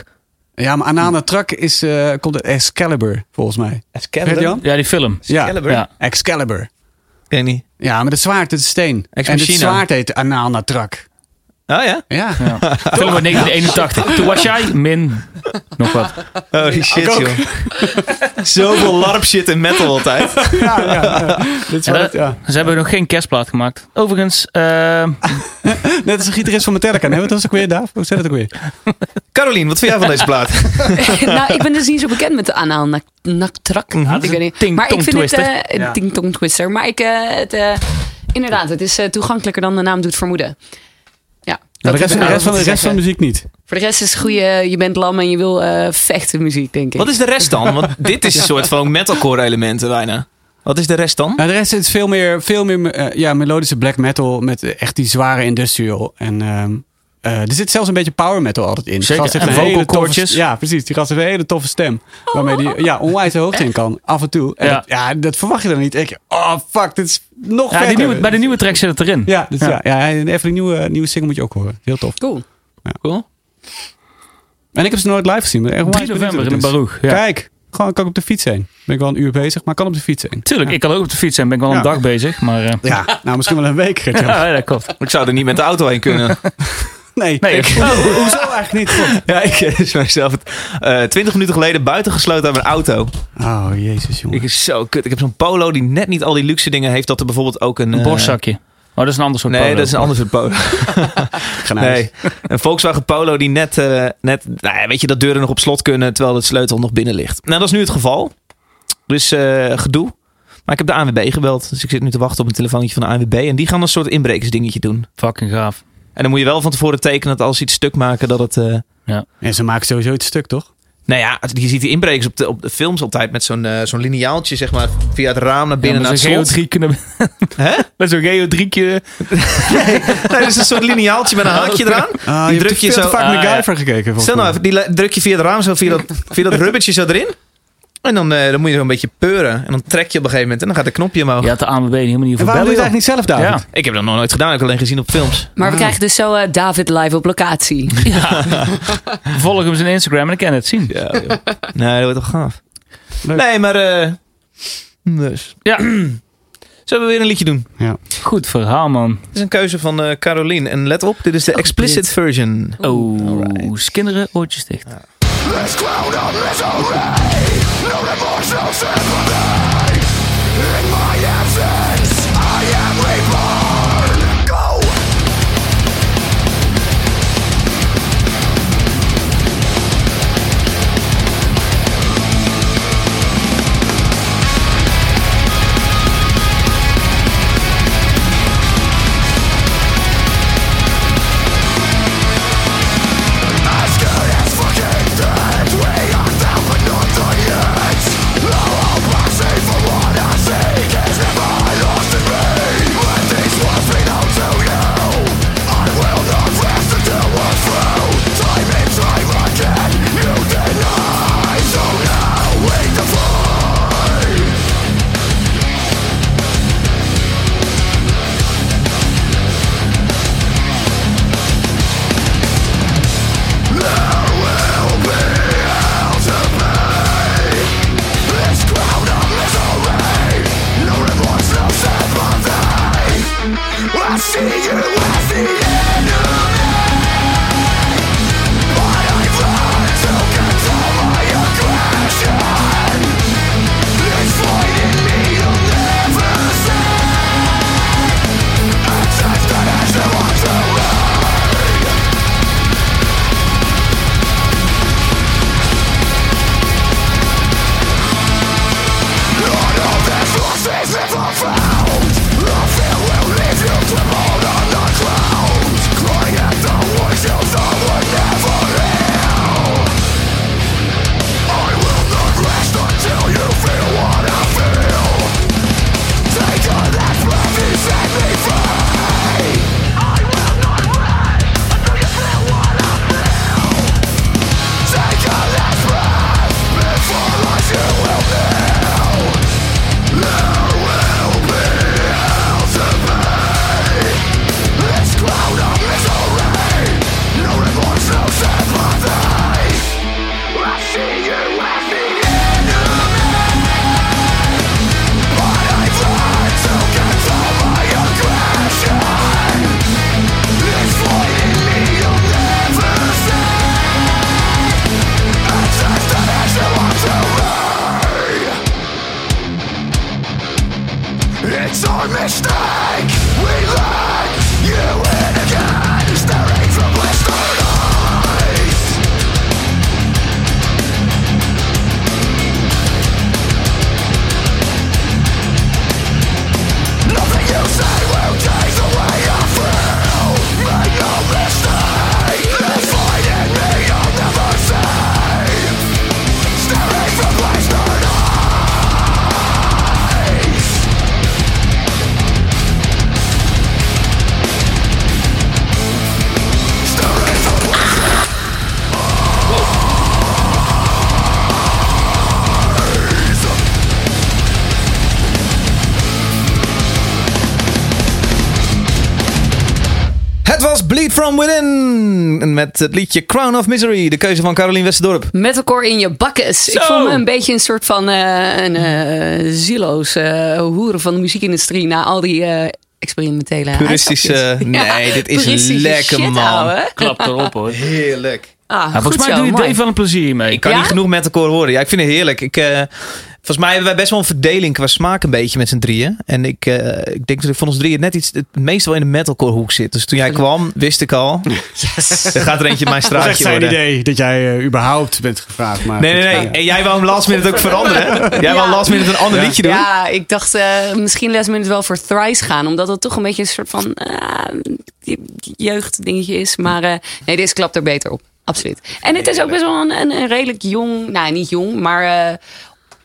Speaker 4: Ja, maar Anana Trak is, eh, komt uit Excalibur, volgens mij.
Speaker 2: Excalibur?
Speaker 4: Gert-Jan?
Speaker 6: Ja, die film.
Speaker 2: Excalibur?
Speaker 6: Ja.
Speaker 4: Excalibur.
Speaker 2: Ken je niet.
Speaker 4: Ja, maar het zwaard, het is steen.
Speaker 2: Ex
Speaker 4: En het
Speaker 2: machina.
Speaker 4: zwaard heet Anana Trak.
Speaker 2: Oh ja?
Speaker 4: Ja.
Speaker 6: Ja. Film uit 1981. Toen was jij min nog wat.
Speaker 2: Holy Oh, shit,
Speaker 4: ook.
Speaker 2: joh. Zoveel larp shit in metal altijd.
Speaker 4: Ja, ja, ja. Dit
Speaker 6: Ja,
Speaker 4: zwaard,
Speaker 6: dat-
Speaker 4: ja. Ah,
Speaker 6: Ze hebben nog geen kerstplaat gemaakt. Overigens, eh,
Speaker 4: Net als de gitarist van Metallica. Nee, wat was het ook weer, Daaf? Hoe zei dat ook weer?
Speaker 2: Caroline, wat vind jij van deze plaat?
Speaker 5: nou, ik ben dus niet zo bekend met de anaal nak- naktrak.
Speaker 4: Mhm.
Speaker 6: dat is
Speaker 5: ik
Speaker 6: een
Speaker 5: weet niet.
Speaker 6: ting-tong
Speaker 5: Maar ik vind het
Speaker 6: twister.
Speaker 5: eh, een ting-tong twister. Maar ik, eh, het, eh, inderdaad, het is eh, toegankelijker dan de naam doet vermoeden. Ja,
Speaker 4: Ja, de
Speaker 5: dat
Speaker 4: rest,
Speaker 5: is
Speaker 4: de
Speaker 5: wel
Speaker 4: rest, van,
Speaker 5: wat
Speaker 4: de
Speaker 5: te
Speaker 4: rest van de
Speaker 5: zeggen.
Speaker 4: muziek niet.
Speaker 5: Voor de rest is het goede, je bent lam en je wil eh, vechten muziek, denk ik.
Speaker 2: Wat is de rest dan? Want dit is een soort van metalcore elementen bijna. Wat is de rest dan?
Speaker 4: Nou, de rest is veel meer, veel meer eh, ja, melodische black metal met eh, echt die zware industrial. En ehm, eh, er zit zelfs een beetje power metal altijd in. Die
Speaker 6: Zeker,
Speaker 4: gast heeft
Speaker 6: en
Speaker 4: een hele toffe-
Speaker 6: vocalkoortjes.
Speaker 4: Ja, precies. Die gast heeft een hele toffe stem. Waarmee die ja, onwijs de hoogte in kan, af en toe. En
Speaker 6: Ja.
Speaker 4: Dat, ja, dat verwacht je dan niet. Ik, oh fuck, dit is nog
Speaker 6: ja, die
Speaker 4: verder.
Speaker 6: nieuwe, bij de nieuwe track zit het erin.
Speaker 4: Ja, dus, ja. ja, en even die nieuwe, nieuwe single moet je ook horen. Heel tof.
Speaker 5: Cool.
Speaker 2: Cool.
Speaker 4: En ik heb ze nooit live gezien. Maar echt onwijs
Speaker 6: 3
Speaker 4: benieuwd
Speaker 6: november in
Speaker 4: hoe
Speaker 6: de
Speaker 4: het is.
Speaker 6: Baroeg. Ja.
Speaker 4: Kijk, gewoon kan ik op de fiets heen. Ben ik wel een uur bezig, maar kan op de fiets heen.
Speaker 6: Tuurlijk, ik kan ook op de fiets zijn. Ben ik wel
Speaker 4: Ja.
Speaker 6: een dag bezig. Maar, eh, Ah,
Speaker 4: Ja, nou misschien wel een week. Gert-Jan.
Speaker 6: ja, dat klopt.
Speaker 2: Ik zou er niet met de auto heen kunnen.
Speaker 4: Nee,
Speaker 6: Nee, oh.
Speaker 4: ik-
Speaker 6: ik-
Speaker 4: hoezo eigenlijk niet? God.
Speaker 2: ja, ik eh, is mezelf twintig minuten geleden buitengesloten aan mijn auto.
Speaker 4: Oh, jezus, jongen.
Speaker 2: Ik is zo kut. Ik heb zo'n polo die net niet al die luxe dingen heeft. Dat er bijvoorbeeld ook een...
Speaker 6: Een
Speaker 2: eh,
Speaker 6: borstzakje. Oh, dat is een ander soort
Speaker 2: Nee,
Speaker 6: polo.
Speaker 2: dat is een ander soort polo.
Speaker 4: ga naar huis.
Speaker 2: Nee, een Volkswagen Polo die net, eh, net nou ja, weet je, dat deuren nog op slot kunnen terwijl de sleutel nog binnen ligt. Nou, dat is nu het geval. Dus eh, gedoe. Maar ik heb de ANWB gebeld, dus ik zit nu te wachten op een telefoontje van de ANWB. En die gaan een soort inbrekersdingetje doen.
Speaker 6: Fucking gaaf.
Speaker 2: En dan moet je wel van tevoren tekenen dat als ze iets stuk maken, dat het eh,
Speaker 4: En ze maken sowieso het stuk, toch?
Speaker 2: Nou ja, je ziet die inbrekers op de, op de films altijd met zo'n eh, zo'n lineaaltje, zeg maar, via het raam naar binnen
Speaker 6: Ja,
Speaker 2: naar
Speaker 6: met
Speaker 2: het
Speaker 6: zo'n
Speaker 2: slot.
Speaker 6: geodriek kunnen-
Speaker 2: Hè?
Speaker 6: Met zo'n geodriekje.
Speaker 2: Nee, dat is een soort lineaaltje met een haakje eraan.
Speaker 4: Ah,
Speaker 2: die
Speaker 4: je
Speaker 2: druk
Speaker 4: hebt
Speaker 2: je
Speaker 4: je
Speaker 2: zo...
Speaker 4: te vaak
Speaker 6: Ah, ja.
Speaker 4: MacGyver gekeken. volgens
Speaker 2: Stel nou
Speaker 4: mij.
Speaker 2: even, die le- druk je via het raam zo, via dat, via dat rubbertje zo erin. En dan, eh, dan moet je zo een beetje peuren. En dan trek je op een gegeven moment en dan gaat de knopje omhoog.
Speaker 6: Je had de ANWB helemaal niet
Speaker 4: En
Speaker 6: voor
Speaker 4: waarom doe je
Speaker 6: bellen,
Speaker 4: het eigenlijk niet zelf,
Speaker 6: joh.
Speaker 4: David?
Speaker 6: Ja.
Speaker 2: Ik heb dat nog nooit gedaan, ik heb alleen gezien op films.
Speaker 5: Maar
Speaker 4: Ah.
Speaker 5: we krijgen dus zo eh, David live op locatie.
Speaker 6: Volg hem zijn Instagram en dan kan je het zien.
Speaker 2: Ja, nee, dat wordt toch gaaf.
Speaker 4: Leuk.
Speaker 2: Nee, maar... eh, dus.
Speaker 6: Ja.
Speaker 2: Zullen we weer een liedje doen?
Speaker 6: Goed verhaal, man.
Speaker 2: Dit is een keuze van eh Caroline. En let op, dit is de explicit
Speaker 5: Brit.
Speaker 2: version.
Speaker 6: Oh, skinderen, oortjes dicht.
Speaker 2: Het was Bleed From Within met het liedje Crown of Misery, de keuze van Caroline Westerdorp.
Speaker 5: Metalcore in je bakkes. Ik voel me een beetje een soort van eh een eh, zieloos eh, hoeren van de muziekindustrie na al die eh, experimentele
Speaker 2: Puristische-
Speaker 5: uitstapjes.
Speaker 2: nee, dit is
Speaker 5: puristische
Speaker 2: lekker,
Speaker 5: shit,
Speaker 2: man.
Speaker 5: ouwe.
Speaker 6: Klap erop, hoor.
Speaker 2: Heerlijk.
Speaker 5: Ah,
Speaker 6: Ja, volgens
Speaker 5: goed
Speaker 6: mij
Speaker 5: zo,
Speaker 6: doe je
Speaker 5: mooi.
Speaker 6: Dave wel een plezier mee.
Speaker 2: Ik kan
Speaker 5: Ja?
Speaker 2: niet genoeg metalcore horen. Ja, ik vind het heerlijk. Ik, eh, volgens mij hebben wij best wel een verdeling qua smaak een beetje met z'n drieën. En ik, eh, ik denk dat ik van ons drieën net iets, het meest wel in de metalcore hoek zit. Dus toen jij kwam, wist ik al. Er gaat er eentje in mijn
Speaker 4: Dat is echt
Speaker 2: straatje
Speaker 4: zijn
Speaker 2: worden.
Speaker 4: idee dat jij eh, überhaupt bent gevraagd. Maar
Speaker 2: Nee, nee,
Speaker 4: goed,
Speaker 2: nee.
Speaker 4: ja.
Speaker 2: En jij wou hem last minute ook veranderen. hè? Jij wou
Speaker 5: Ja.
Speaker 2: last minute een ander liedje doen.
Speaker 5: Ja, ik dacht eh, misschien les me het wel voor Thrice gaan. Omdat dat toch een beetje een soort van eh, je- jeugddingetje is. Maar eh, nee, deze klapt er beter op. absoluut. En het is ook best wel een, een, een redelijk jong, nou niet jong, maar eh,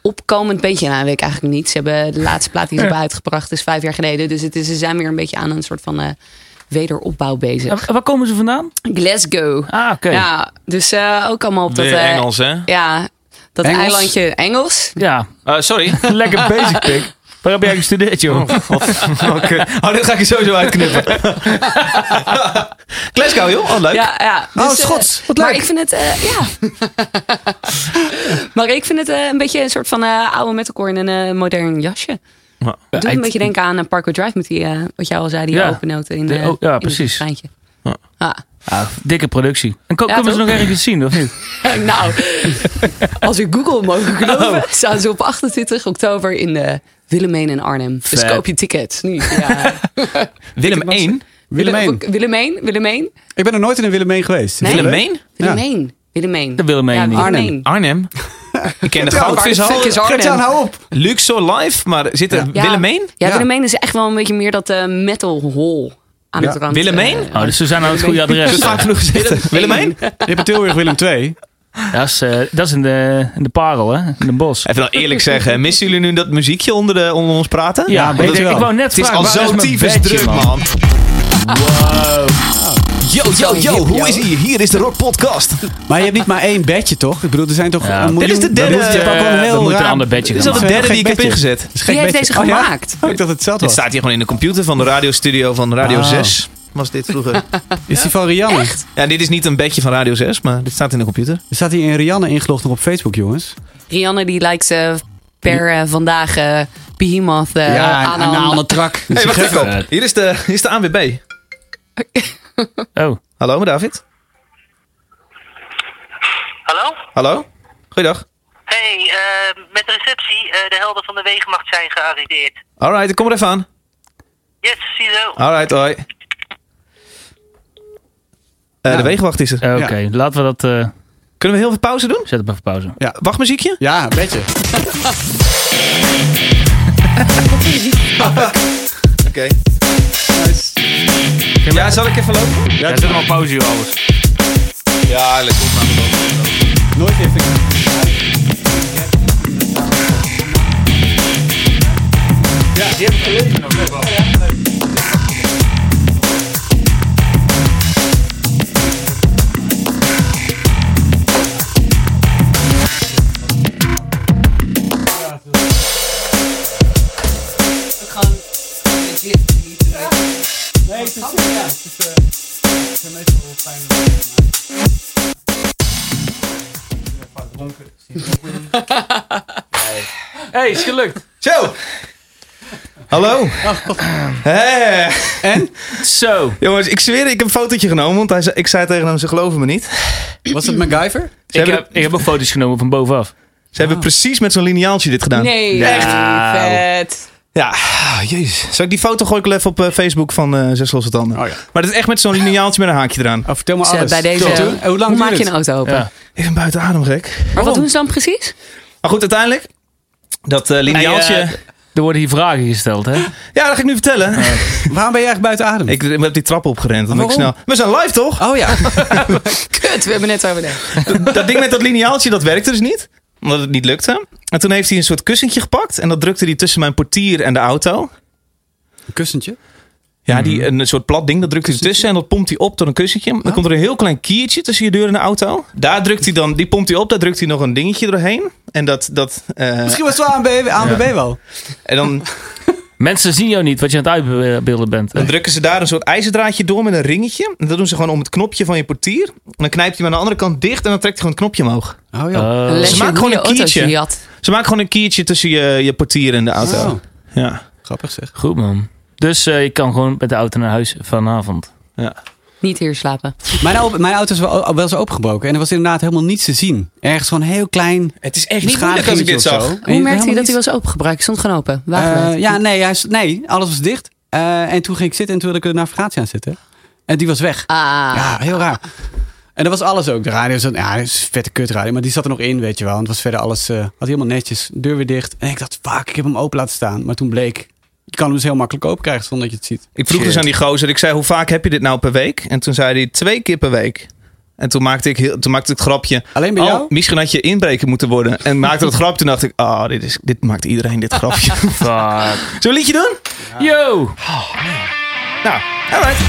Speaker 5: opkomend beetje. Nou, weet ik eigenlijk niet. Ze hebben de laatste plaat die ze hebben uitgebracht is vijf jaar geleden. Dus het is, ze zijn weer een beetje aan een soort van eh, wederopbouw bezig.
Speaker 6: Waar komen ze vandaan?
Speaker 5: Glasgow.
Speaker 6: Ah, oké. Ja.
Speaker 5: Ja, dus eh, ook allemaal op dat...
Speaker 2: Weer
Speaker 5: eh,
Speaker 2: Engels, hè?
Speaker 5: Ja, dat
Speaker 4: Engels?
Speaker 5: eilandje Engels.
Speaker 2: Eh, sorry.
Speaker 6: Lekker basic pick. Waar heb jij gestudeerd, joh?
Speaker 2: Oh, Oké. Oh, dit ga ik er sowieso uitknippen. Glasgow, joh. Oh, leuk.
Speaker 5: Ja, ja.
Speaker 4: Oh,
Speaker 5: eh,
Speaker 4: Schots. Wat
Speaker 5: maar
Speaker 4: leuk.
Speaker 5: ik vind het, eh, ja. maar ik vind het eh, een beetje een soort van eh, oude metalcore in een eh, modern jasje.
Speaker 2: Ja.
Speaker 5: Doet een beetje denken aan eh, Parkway Drive met die, eh, wat jij al zei, die
Speaker 6: Ja.
Speaker 5: open noten in
Speaker 6: De-
Speaker 5: eh,
Speaker 6: oh, ja,
Speaker 5: in het
Speaker 6: precies.
Speaker 5: refreintje.
Speaker 2: Ja.
Speaker 5: Ah.
Speaker 6: Ah, dikke productie. En ko-
Speaker 5: Ja,
Speaker 6: kunnen ze
Speaker 5: toch?
Speaker 6: nog ergens zien, of niet?
Speaker 5: nou, als we Google mogen geloven,
Speaker 6: Oh.
Speaker 5: staan ze op 28 oktober in eh Willemijn en Arnhem. Dus
Speaker 6: Vet.
Speaker 5: koop je tickets nu. Ja.
Speaker 2: Willem 1.
Speaker 4: Willemijn.
Speaker 5: Wille- Willemijn, Willemijn,
Speaker 4: Ik ben er nooit in een Willemijn geweest.
Speaker 5: Nee.
Speaker 2: Willemijn?
Speaker 5: Willemijn. Willemijn.
Speaker 6: De Willemijn
Speaker 5: Ja,
Speaker 6: niet.
Speaker 5: Willemijn.
Speaker 2: Arnhem. Ik ken de
Speaker 4: Ja, waar
Speaker 5: de fuck
Speaker 2: goudvishal.
Speaker 5: is Arnhem?
Speaker 4: Gert-Jan, hou op.
Speaker 2: Luxor Live, maar zit er
Speaker 5: Ja.
Speaker 2: Willemijn?
Speaker 5: Ja,
Speaker 4: Ja.
Speaker 5: Willemijn is echt wel een beetje meer dat eh, metal hole aan
Speaker 4: Ja.
Speaker 5: het rand.
Speaker 2: Willemijn?
Speaker 5: eh,
Speaker 6: Oh, dus ze zijn aan het goede
Speaker 2: Dat is
Speaker 6: adres.
Speaker 2: vaak genoeg gezeten. Willemijn?
Speaker 4: Je hebt in Tilburg Willem 2.
Speaker 6: Dat is, eh, dat is in, de, in de parel, hè? In de bos.
Speaker 2: Even wel eerlijk zeggen, missen jullie nu dat muziekje onder, de, onder ons praten?
Speaker 6: Ja,
Speaker 4: maar
Speaker 6: ik,
Speaker 4: dat
Speaker 6: denk-
Speaker 4: wel.
Speaker 6: ik wou net
Speaker 2: Het is
Speaker 6: vragen,
Speaker 2: al
Speaker 6: waar
Speaker 2: zo
Speaker 6: mijn
Speaker 2: tyfus
Speaker 6: bedje,
Speaker 2: druk, man. Yo, yo, yo, hoe is ie? Hier is de Rock Podcast.
Speaker 4: Maar je hebt niet maar één bedje, toch? Ik bedoel, er zijn toch
Speaker 6: Ja.
Speaker 4: een miljoen...
Speaker 2: Dit is de derde.
Speaker 4: Je hebt ook wel een
Speaker 6: We
Speaker 4: heel
Speaker 6: moeten
Speaker 4: raar-
Speaker 6: een ander bedje
Speaker 2: Dit is
Speaker 6: gaan
Speaker 2: al de
Speaker 4: maken.
Speaker 2: derde
Speaker 4: Gek
Speaker 2: die ik heb
Speaker 4: bedje.
Speaker 2: ingezet.
Speaker 4: Dat is gek
Speaker 5: Wie heeft
Speaker 4: bedje.
Speaker 5: deze
Speaker 4: Oh ja?
Speaker 5: gemaakt?
Speaker 4: Oh, ik dacht het zelf
Speaker 2: Dit
Speaker 4: was.
Speaker 2: staat hier gewoon in de computer van de radiostudio van Radio
Speaker 4: Oh.
Speaker 2: 6. Was dit vroeger?
Speaker 4: Is die van Rianne?
Speaker 5: Echt?
Speaker 2: ja, dit is niet een bedje van Radio 6, maar dit staat in de computer.
Speaker 4: Er staat hier in Rianne ingelogd nog op Facebook, jongens.
Speaker 5: Rianne die lijkt ze per eh, vandaag eh Behemoth eh aan
Speaker 4: een andere trak.
Speaker 2: Hé, hey, wacht even
Speaker 6: gek?
Speaker 2: op. Hier is de, hier is de ANWB.
Speaker 6: Oh,
Speaker 2: Hallo, met David.
Speaker 1: Hallo?
Speaker 2: Hallo. Goeiedag.
Speaker 1: Hey, eh, met de receptie, eh, de helden van de wegenmacht zijn gearriveerd.
Speaker 2: Alright, ik kom er even aan.
Speaker 1: Yes, ziezo.
Speaker 2: Alright, hoi. Eh, De wegenwacht is er.
Speaker 6: eh, oké. Laten we dat... eh,
Speaker 2: Kunnen we heel veel pauze doen?
Speaker 6: zet hem even pauze.
Speaker 2: Wachtmuziekje?
Speaker 4: Ja, een bedje.
Speaker 2: Oké. Ja, zal ik even lopen?
Speaker 6: Ja, zet hem op pauze, joh, alles.
Speaker 2: Ja, lekker.
Speaker 4: Nooit even.
Speaker 6: hey, is gelukt.
Speaker 2: Zo. Hallo. Hé.
Speaker 6: Zo.
Speaker 2: Jongens, ik zweer, ik heb een fotootje genomen, want hij, zei- ik zei tegen hem, ze geloven me niet. Ze
Speaker 4: Was het MacGyver?
Speaker 6: Ik
Speaker 2: hebben,
Speaker 6: heb, ik heb ook foto's genomen van bovenaf.
Speaker 2: ze hebben precies met zo'n lineaaltje dit gedaan.
Speaker 5: Nee,
Speaker 6: Echt?
Speaker 5: nee, vet.
Speaker 2: Ja, ah, jezus. Zal ik die foto gooi ik wel even op eh, Facebook van eh Zes Losse Tanden?
Speaker 4: Oh ja.
Speaker 2: Maar dat is echt met zo'n lineaaltje met een haakje eraan.
Speaker 4: Oh, vertel me
Speaker 5: Dus, eh,
Speaker 4: alles.
Speaker 5: bij deze,
Speaker 4: Tot toen. Hoe lang
Speaker 5: maak
Speaker 4: duurt
Speaker 5: je een
Speaker 4: het?
Speaker 5: auto open?
Speaker 6: Ja.
Speaker 2: Even buiten adem, gek.
Speaker 5: Maar wat doen ze dan precies?
Speaker 2: Maar goed, uiteindelijk, dat eh lineaaltje...
Speaker 6: Hey, eh, er worden hier vragen gesteld, hè?
Speaker 2: Ja, dat ga ik nu
Speaker 4: Oh,
Speaker 2: vertellen.
Speaker 5: nou-
Speaker 4: Waarom ben je eigenlijk buiten adem?
Speaker 2: Ik, heb die trap opgerend. Dan ben ik snel.
Speaker 4: Waarom?
Speaker 2: We zijn live toch?
Speaker 4: Oh ja.
Speaker 5: Kut, we hebben net over de...
Speaker 2: Dat- dat ding met dat lineaaltje, dat werkte dus niet. Omdat het niet lukte. En toen heeft hij een soort kussentje gepakt. En dat drukte hij tussen mijn portier en de auto.
Speaker 4: Een kussentje.
Speaker 2: Ja, die, een soort plat ding, dat drukt hij tussen en dat pompt hij op tot een kussentje. Dan komt er een heel klein kiertje tussen je deur en de auto. Daar drukt hij dan, die pompt hij op, daar drukt hij nog een dingetje doorheen. En dat, dat, eh,
Speaker 4: Misschien was het wel ANB, ANBB wel.
Speaker 2: en dan,
Speaker 6: Mensen zien jou niet, wat je aan het uitbeelden bent.
Speaker 2: dan drukken ze daar een soort ijzerdraadje door met een ringetje. En dat doen ze gewoon om het knopje van je portier. En dan knijpt hij hem aan de andere kant dicht en dan trekt hij gewoon het knopje omhoog.
Speaker 4: Oh ja.
Speaker 6: Oh.
Speaker 5: Leg je
Speaker 2: maken gewoon
Speaker 5: nieuwe
Speaker 2: een
Speaker 5: auto's
Speaker 2: kiertje.
Speaker 5: in je had.
Speaker 2: Ze maken gewoon een kiertje tussen je, je portier en de auto.
Speaker 4: Oh,
Speaker 2: Ja.
Speaker 4: grappig zeg.
Speaker 6: Goed, man. Dus eh, je kan gewoon met de auto naar huis vanavond.
Speaker 5: Niet hier slapen.
Speaker 4: Mijn, au- mijn auto is wel, wel eens opengebroken en er was inderdaad helemaal niets te zien. Ergens gewoon heel klein.
Speaker 2: Het is echt
Speaker 4: schadigingetje of zo. En je-
Speaker 5: Hoe merkte je
Speaker 4: helemaal
Speaker 5: dat hij
Speaker 4: niets-
Speaker 5: was opengebruikt? Ik Stond gewoon open.
Speaker 4: Eh,
Speaker 5: Wagenwijd.
Speaker 4: ja, nee, hij, is- nee, alles was dicht. Eh, en toen ging ik zitten en toen wilde ik de navigatie aan zitten. En die was weg.
Speaker 5: Ah,
Speaker 4: Ja, heel raar. En dat was alles ook. De radio zat, ja, dat is een vette kutradio, maar die zat er nog in, weet je wel. En het was verder alles, eh, had helemaal netjes, deur weer dicht. En ik dacht, fuck, ik heb hem open laten staan. Maar toen bleek, je kan hem dus heel makkelijk open krijgen zonder dat je het ziet.
Speaker 2: dus Ik vroeg dus aan die gozer, ik zei, hoe vaak heb je dit nou per week? En toen zei hij, twee keer per week. En toen maakte ik, heel, toen maakte ik het grapje.
Speaker 4: Alleen bij
Speaker 2: oh,
Speaker 4: jou?
Speaker 2: Misschien had je inbreker moeten worden. En maakte dat grapje. Toen dacht ik, ah, dit, is, dit maakt iedereen dit grapje.
Speaker 6: Fuck.
Speaker 2: Zullen we een liedje doen?
Speaker 6: Yo!
Speaker 2: Nou, alright.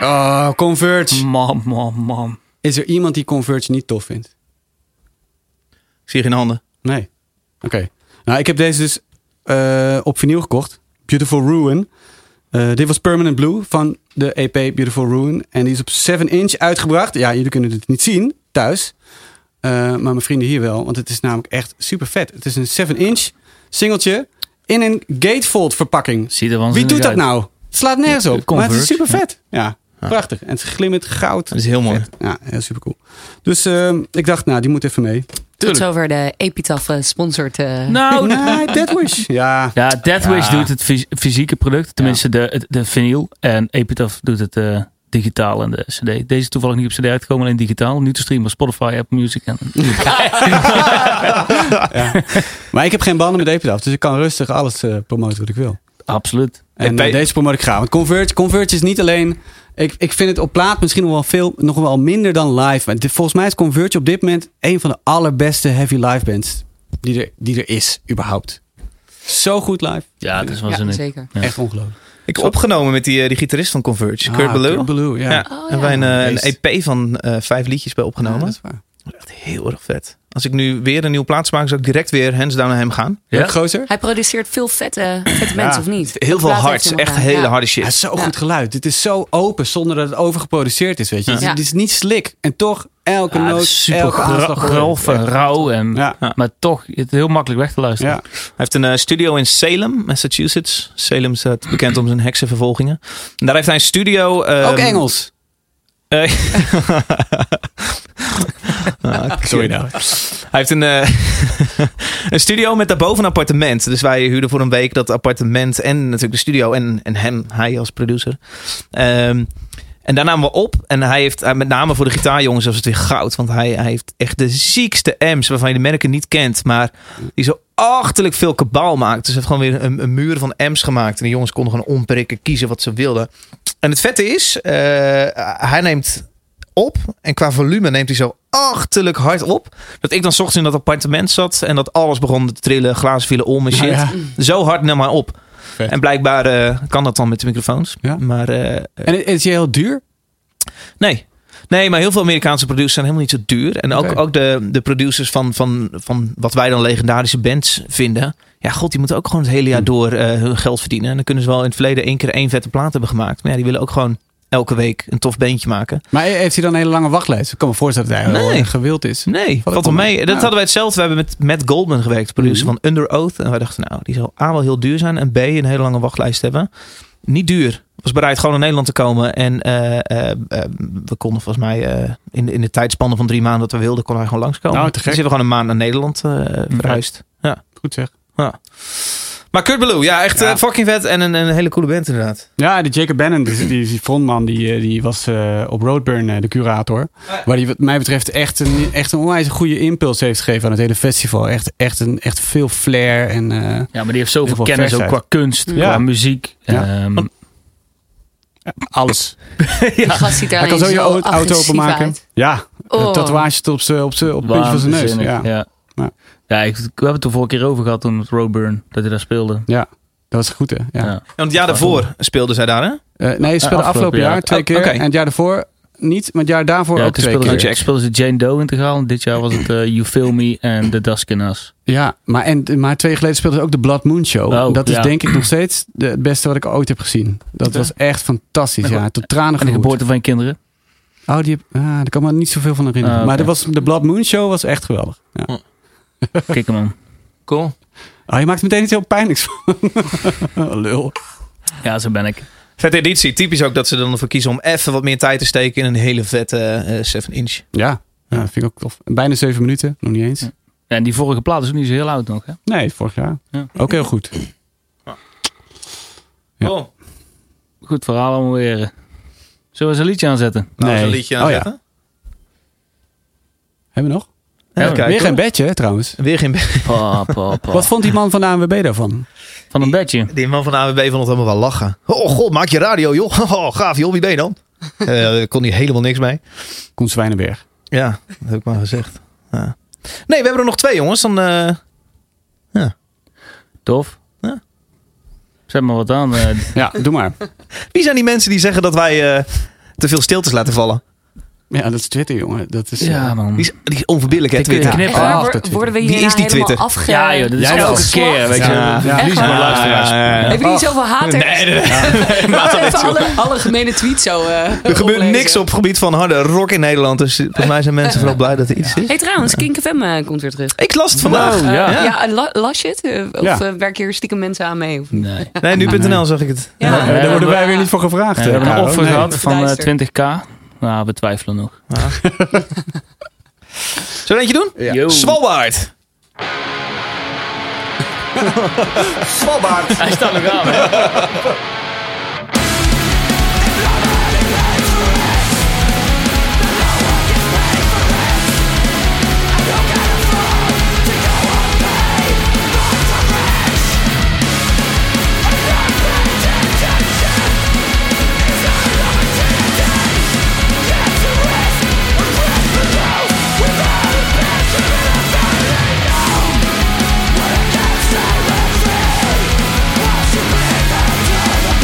Speaker 4: Oh, Converge.
Speaker 6: Man, man, man.
Speaker 4: Is er iemand die Converge niet tof vindt?
Speaker 2: Ik zie geen handen.
Speaker 4: Nee. Oké. Nou, ik heb deze dus eh, op vinyl gekocht. Beautiful Ruin. Eh, dit was Permanent Blue van de EP Beautiful Ruin. En die is op 7 inch uitgebracht. Ja, jullie kunnen het niet zien thuis. Eh, maar mijn vrienden hier wel. Want het is namelijk echt super vet. Het is een 7 inch singeltje in een gatefold verpakking.
Speaker 6: Ziet er waanzinnig
Speaker 4: Wie doet dat
Speaker 6: uit.
Speaker 4: nou? Het slaat nergens op.
Speaker 6: Converge,
Speaker 4: maar het is super vet. Ja, prachtig. En het glimmert goud.
Speaker 2: Dat is heel mooi.
Speaker 4: Ja, heel super cool. Dus ehm, ik dacht, nou, die moet even mee.
Speaker 5: Tot zover de Epitaph eh, sponsort. eh,
Speaker 6: Nou,
Speaker 4: Nee, Deathwish. Ja,
Speaker 6: Ja, Deathwish
Speaker 4: Ja.
Speaker 6: doet het fys- fysieke product, tenminste de, het- de vinyl. En Epitaph doet het eh, digitaal en de CD. Deze is toevallig niet op CD uitgekomen, alleen digitaal. Nu te streamen op Spotify, Apple Music. En,
Speaker 4: maar ik heb geen banden met Epitaph, dus ik kan rustig alles eh, promoten wat ik wil.
Speaker 6: absoluut.
Speaker 4: En
Speaker 2: EP.
Speaker 4: eh, deze promote ik graag. Want Converge, Converge is niet alleen... Ik, ik vind het op plaat misschien nog wel, veel, nog wel minder dan live. Maar dit- volgens mij is Converge op dit moment... een van de allerbeste heavy live bands die er, die er is, überhaupt. Zo goed live.
Speaker 6: Ja, het is wel
Speaker 5: ja,
Speaker 6: zo niet.
Speaker 5: zeker.
Speaker 6: Ja.
Speaker 4: Echt ongelooflijk.
Speaker 2: Ik heb opgenomen met die, eh, die gitarist van Converge,
Speaker 4: Ah,
Speaker 2: Kurt Ballou.
Speaker 4: Kurt Ballou,
Speaker 2: ja.
Speaker 4: ja. ja.
Speaker 5: Oh,
Speaker 2: hebben wij een,
Speaker 5: ja.
Speaker 2: eh,
Speaker 4: Beest.
Speaker 2: een EP van eh, vijf liedjes bij opgenomen.
Speaker 4: dat is waar.
Speaker 2: Echt heel erg vet. Als ik nu weer een nieuwe plaats maak, zou ik direct weer hands down naar hem gaan.
Speaker 4: Leuk
Speaker 6: Ja?
Speaker 4: gozer.
Speaker 5: Hij produceert veel vette, vette mensen, of niet?
Speaker 2: Heel veel
Speaker 5: Laat het
Speaker 2: hards.
Speaker 5: in
Speaker 2: Echt
Speaker 5: elkaar.
Speaker 2: hele
Speaker 5: Ja.
Speaker 2: harde
Speaker 4: Ja, het
Speaker 2: shit.
Speaker 4: is zo
Speaker 5: Ja.
Speaker 4: goed geluid. Dit is zo open zonder dat het overgeproduceerd is, weet je.
Speaker 5: Ja.
Speaker 4: Het, is niet slik. En toch elke
Speaker 6: Ja, het
Speaker 4: noot,
Speaker 6: is super
Speaker 4: elke
Speaker 6: gra-
Speaker 4: aanslag.
Speaker 6: grof en rauw. En,
Speaker 4: Ja.
Speaker 6: Maar toch, het heel makkelijk weg te luisteren.
Speaker 4: Ja.
Speaker 2: Hij heeft een eh, studio in Salem, Massachusetts. Salem staat bekend om zijn heksenvervolgingen. En daar heeft hij een studio. ehm,
Speaker 4: Ook Engels.
Speaker 2: eh, Ah,
Speaker 4: Sorry
Speaker 2: kut.
Speaker 4: nou.
Speaker 2: Hij heeft een, eh, een studio met daarboven een appartement. Dus wij huurden voor een week dat appartement en natuurlijk de studio en, en hem, hij als producer. Ehm, en daar namen we op. En hij heeft, eh, met name voor de gitaarjongens, was het weer goud. Want hij, hij heeft echt de ziekste M's waarvan je de merken niet kent. Maar die zo achterlijk veel kabaal maakt. Dus hij heeft gewoon weer een, een muur van M's gemaakt. En de jongens konden gewoon omprikken, kiezen wat ze wilden. En het vette is, eh, hij neemt op. En qua volume neemt hij zo achterlijk hard op. Dat ik dan 's ochtends in dat appartement zat. En dat alles begon te trillen. Glazen vielen om en shit.
Speaker 4: Ja,
Speaker 2: Zo hard nam hij op.
Speaker 4: Vet.
Speaker 2: En blijkbaar eh, kan dat dan met de microfoons.
Speaker 4: Ja.
Speaker 2: Maar eh,
Speaker 4: En is die heel duur?
Speaker 2: Nee. Nee, maar heel veel Amerikaanse producers zijn helemaal niet zo duur. En ook,
Speaker 4: Oké.
Speaker 2: ook de, de producers van, van, van wat wij dan legendarische bands vinden. Ja, god, die moeten ook gewoon het hele jaar door eh, hun geld verdienen. En dan kunnen ze wel in het verleden één keer één vette plaat hebben gemaakt. Maar ja, die willen ook gewoon elke week een tof bandje maken.
Speaker 4: Maar heeft hij dan een hele lange wachtlijst? Ik kan me voorstellen dat hij
Speaker 2: Nee.
Speaker 4: heel erg gewild is.
Speaker 2: Nee,
Speaker 4: Valt
Speaker 2: valt
Speaker 4: wel
Speaker 2: wel
Speaker 4: mee.
Speaker 2: mee. Dat
Speaker 4: Nou.
Speaker 2: hadden wij hetzelfde. We hebben met Matt Goldman gewerkt, de producer
Speaker 4: Mhm.
Speaker 2: van Under Oath. En wij dachten, nou, die zal A wel heel duur zijn en B een hele lange wachtlijst hebben. Niet duur. Was bereid gewoon naar Nederland te komen. En eh, eh, eh, we konden volgens mij eh, in, de- in de tijdspanne van drie maanden dat we wilden, konden wij gewoon langskomen.
Speaker 4: Nou, te
Speaker 2: Dus
Speaker 4: gek.
Speaker 2: hebben we gewoon een maand naar Nederland eh, verhuisd. Ja.
Speaker 4: Goed zeg.
Speaker 2: Maar Kurt Blue, ja, echt
Speaker 4: Ja.
Speaker 2: eh, fucking vet. En een, een hele coole band inderdaad.
Speaker 4: Ja, die Jacob Bannon, die, die, die frontman, die, eh, die was eh, op Roadburn eh, de curator. Waar die wat mij betreft echt een, echt een onwijs goede impuls heeft gegeven aan het hele festival. Echt, echt, een, echt veel flair en... eh,
Speaker 6: Ja, maar die heeft
Speaker 4: Heel
Speaker 6: zoveel
Speaker 4: veel
Speaker 6: kennis ook
Speaker 4: versheid.
Speaker 6: qua kunst,
Speaker 4: Ja.
Speaker 6: qua muziek.
Speaker 4: Ja.
Speaker 6: Ehm,
Speaker 4: Alles.
Speaker 5: Die gast ziet er
Speaker 4: Hij kan zo
Speaker 5: alleen
Speaker 4: je
Speaker 5: zo
Speaker 4: au- auto
Speaker 5: agressief
Speaker 4: openmaken.
Speaker 5: uit.
Speaker 4: Ja,
Speaker 5: Oh.
Speaker 4: een tatoeage tot op zijn op z'n- op het puntje van zijn neus.
Speaker 6: waanzinnig,
Speaker 4: Ja. Ja.
Speaker 6: Ja.
Speaker 4: Ja.
Speaker 6: Ja. ik, we hebben het er vorige keer over gehad toen met Roadburn, dat hij daar speelde.
Speaker 4: dat was goed hè. Ja.
Speaker 6: Ja.
Speaker 2: Want het jaar daarvoor speelden zij daar, hè?
Speaker 4: Eh, nee, ze speelde
Speaker 6: Eh,
Speaker 4: afgelopen
Speaker 6: afgelopen
Speaker 4: jaar
Speaker 6: jaar.
Speaker 4: twee
Speaker 2: Oh,
Speaker 4: keer.
Speaker 2: oké.
Speaker 4: En het jaar daarvoor niet, maar het jaar daarvoor
Speaker 6: Ja,
Speaker 4: ook
Speaker 6: toen
Speaker 4: twee
Speaker 6: speelden
Speaker 4: keer.
Speaker 6: ze, speelden ze Jane Doe integraal. Dit jaar was het eh, You Feel Me en The Dusk in Us.
Speaker 4: Ja, maar, en, maar twee jaar geleden speelde ze ook de Blood Moon Show.
Speaker 6: Oh,
Speaker 4: dat is
Speaker 6: ja.
Speaker 4: denk ik nog steeds de, het beste wat ik ooit heb gezien. Dat was echt fantastisch, ja. Tot tranen
Speaker 6: En de
Speaker 4: geroerd.
Speaker 6: geboorte van je kinderen.
Speaker 4: Oh, die heb, ah, daar kan ik me niet zoveel van herinneren.
Speaker 6: Ah, oké.
Speaker 4: Maar dat was, de Blood Moon Show was echt geweldig. Ja.
Speaker 6: Kijk hem aan.
Speaker 2: Cool.
Speaker 4: Oh, je maakt er meteen iets heel pijnlijks van. Lul.
Speaker 6: Ja, zo ben ik.
Speaker 2: Vette editie. Typisch ook dat ze dan ervoor kiezen om even wat meer tijd te steken in een hele vette eh, 7-inch.
Speaker 4: Ja. ja, vind ik ook tof. Bijna zeven minuten, nog niet eens.
Speaker 6: En die vorige plaat is ook niet zo heel oud nog. Hè?
Speaker 4: Nee, vorig jaar.
Speaker 6: Ja.
Speaker 4: Ook heel goed.
Speaker 2: Nou,
Speaker 4: Ja.
Speaker 2: Cool.
Speaker 6: Goed verhaal allemaal weer. Zullen we eens een liedje aanzetten?
Speaker 2: Nou,
Speaker 4: Nee.
Speaker 2: zo'n liedje
Speaker 4: Oh,
Speaker 2: aan
Speaker 4: ja. Hebben we nog?
Speaker 6: Ja,
Speaker 2: Even kijken,
Speaker 4: Weer geen
Speaker 2: hoor.
Speaker 4: bedje, hè, trouwens.
Speaker 2: Weer geen be-
Speaker 6: Pa, pa, pa.
Speaker 4: Wat vond die man van de ANWB daarvan?
Speaker 6: Van een bedje.
Speaker 2: Die man van de AWB vond het allemaal wel lachen. Oh god, maak je radio joh. Oh, gaaf joh, wie ben je dan? Eh, Daar kon hij helemaal niks mee.
Speaker 4: Koen Zwijnenberg.
Speaker 2: Ja, dat heb ik maar gezegd. Ja. Nee, we hebben er nog twee jongens. Dan, eh,
Speaker 6: Tof.
Speaker 2: Ja.
Speaker 6: Zet maar wat aan. eh.
Speaker 4: Ja, doe maar.
Speaker 2: wie zijn die mensen die zeggen dat wij eh, te veel stiltes laten vallen?
Speaker 4: Ja, dat is Twitter, jongen. Dat is, eh,
Speaker 6: ja, man.
Speaker 2: Die is, die is onverbiddelijk hè,
Speaker 6: Die Mm. kun
Speaker 2: Twitter.
Speaker 6: je knippen.
Speaker 5: Echt waar,
Speaker 4: Ah,
Speaker 5: wor-
Speaker 4: dat Twitter.
Speaker 5: worden we
Speaker 2: Die
Speaker 5: hier
Speaker 2: is die
Speaker 5: helemaal
Speaker 2: Twitter.
Speaker 5: afge...
Speaker 6: Ja, joh, dat is
Speaker 4: Jij
Speaker 6: elke
Speaker 4: was-
Speaker 6: keer. Weet je,
Speaker 2: Ja.
Speaker 6: ja.
Speaker 2: Ja.
Speaker 6: Verlies
Speaker 5: Ja.
Speaker 6: van de luisteraars.
Speaker 2: Ja, ja, ja.
Speaker 5: Hebben jullie zoveel haters? Nee, even alle, alle gemene tweets zo eh,
Speaker 2: Er gebeurt
Speaker 5: oplezen.
Speaker 2: niks op het gebied van harde rock in Nederland. Dus volgens mij zijn mensen vooral blij dat er iets is.
Speaker 5: hey, trouwens, Kink FM eh, komt weer terug.
Speaker 2: Ik las het vandaag.
Speaker 6: Oh, ja.
Speaker 5: Ja, eh, la- las je het? Eh, Of
Speaker 4: Ja.
Speaker 5: eh, werken hier stiekem mensen aan mee? Of...
Speaker 6: Nee.
Speaker 2: Nee, nu.nl zag ik het.
Speaker 4: Eh, daar worden wij weer niet voor gevraagd.
Speaker 6: We hebben
Speaker 4: Nou,
Speaker 6: een offer
Speaker 4: nee.
Speaker 6: gehad van eh,
Speaker 5: Duister.
Speaker 6: 20k. Nou, we twijfelen nog.
Speaker 2: Zullen we er eentje doen?
Speaker 6: Yo.
Speaker 2: Svalbaard. Svalbaard.
Speaker 6: Hij staat nog aan. hè?
Speaker 7: Thank you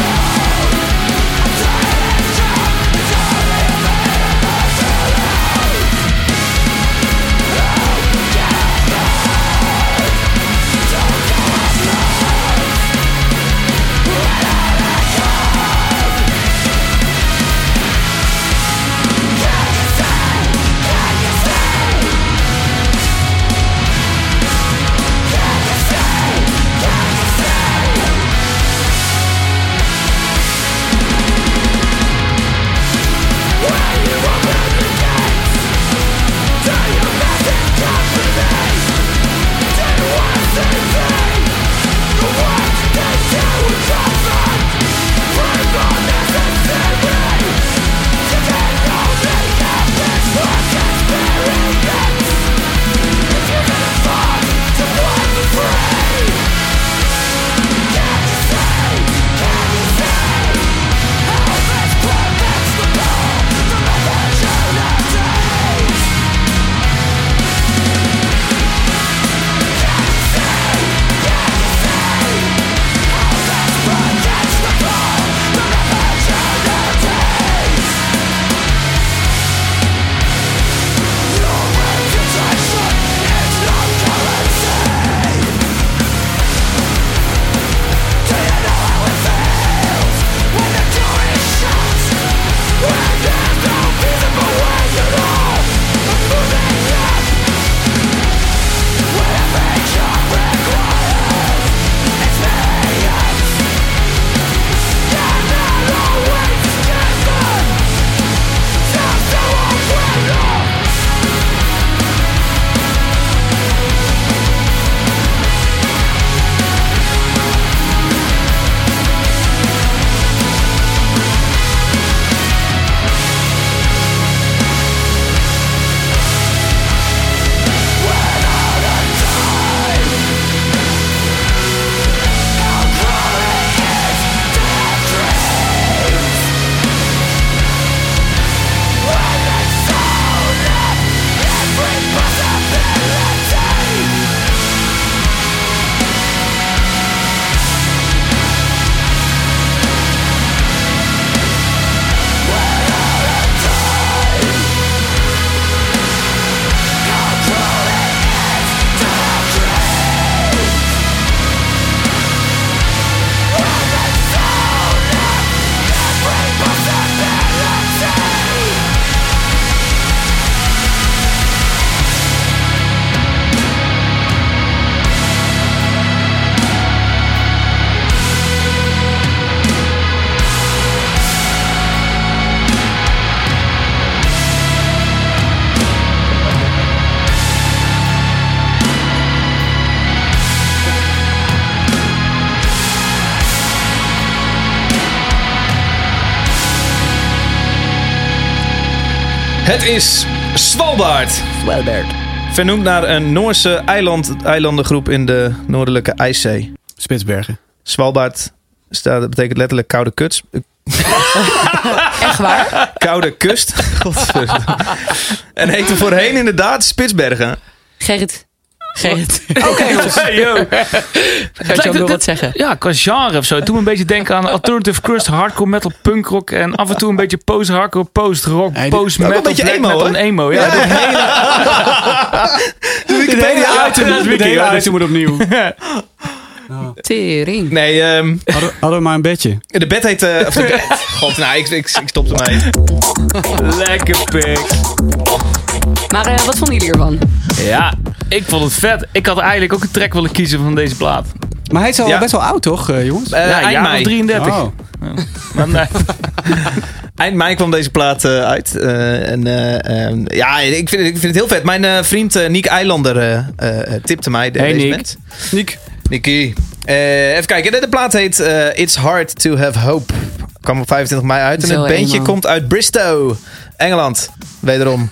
Speaker 2: Het is Svalbard.
Speaker 5: Welbert.
Speaker 2: Vernoemd naar een Noorse eiland, eilandengroep in de Noordelijke IJszee.
Speaker 4: Spitsbergen.
Speaker 2: Svalbard staat, dat betekent letterlijk koude kuts.
Speaker 5: Echt waar?
Speaker 2: Koude kust. Godverdomme. en heette voorheen inderdaad Spitsbergen.
Speaker 5: Gerrit. Gerrit.
Speaker 6: Hey, yo.
Speaker 5: Gerrit, Jan wil
Speaker 6: dit-
Speaker 5: wat zeggen.
Speaker 6: Ja, qua genre of zo. Toen een beetje denken aan alternative crust, hardcore metal, punk rock en af en toe een beetje post hardcore, post rock,
Speaker 4: Hey, dit-
Speaker 6: post metal,
Speaker 2: Ook een beetje
Speaker 6: black
Speaker 2: emo,
Speaker 6: metal
Speaker 2: hè?
Speaker 6: en emo. Ja, dit-
Speaker 2: Wikipedia uit.
Speaker 6: dat is wiki, hoor.
Speaker 4: item moet opnieuw.
Speaker 5: Tering.
Speaker 2: Nee, ehm,
Speaker 4: Hadden, hadden we maar een bedje.
Speaker 2: de bed heet... eh, of de bed. God, nou, ik, ik, ik stop ermee.
Speaker 6: Lekker pik.
Speaker 5: Maar eh, wat vonden jullie ervan?
Speaker 6: Ja, ik vond het vet. Ik had eigenlijk ook een track willen kiezen van deze plaat.
Speaker 4: Maar hij is al
Speaker 2: Ja.
Speaker 4: best wel oud, toch, eh, jongens?
Speaker 2: Eh,
Speaker 6: ja,
Speaker 2: eind,
Speaker 6: jaar of
Speaker 2: mei.
Speaker 6: 33.
Speaker 4: Oh.
Speaker 6: Maar nee.
Speaker 2: eind mei kwam deze plaat eh, uit. Eh, en, eh, ehm, ja, ik vind, ik vind het heel vet. Mijn eh, vriend eh, Niek Eilander eh, eh, eh, tipte mij de,
Speaker 6: Hey,
Speaker 2: deze
Speaker 6: Niek.
Speaker 2: band.
Speaker 4: Niek.
Speaker 2: Nicky. Eh, even kijken, de, de plaat heet eh, It's Hard to Have Hope. Kwam op 25 mei uit en
Speaker 5: Zo
Speaker 2: het bandje
Speaker 5: eenmaal.
Speaker 2: komt uit Bristow, Engeland. Wederom,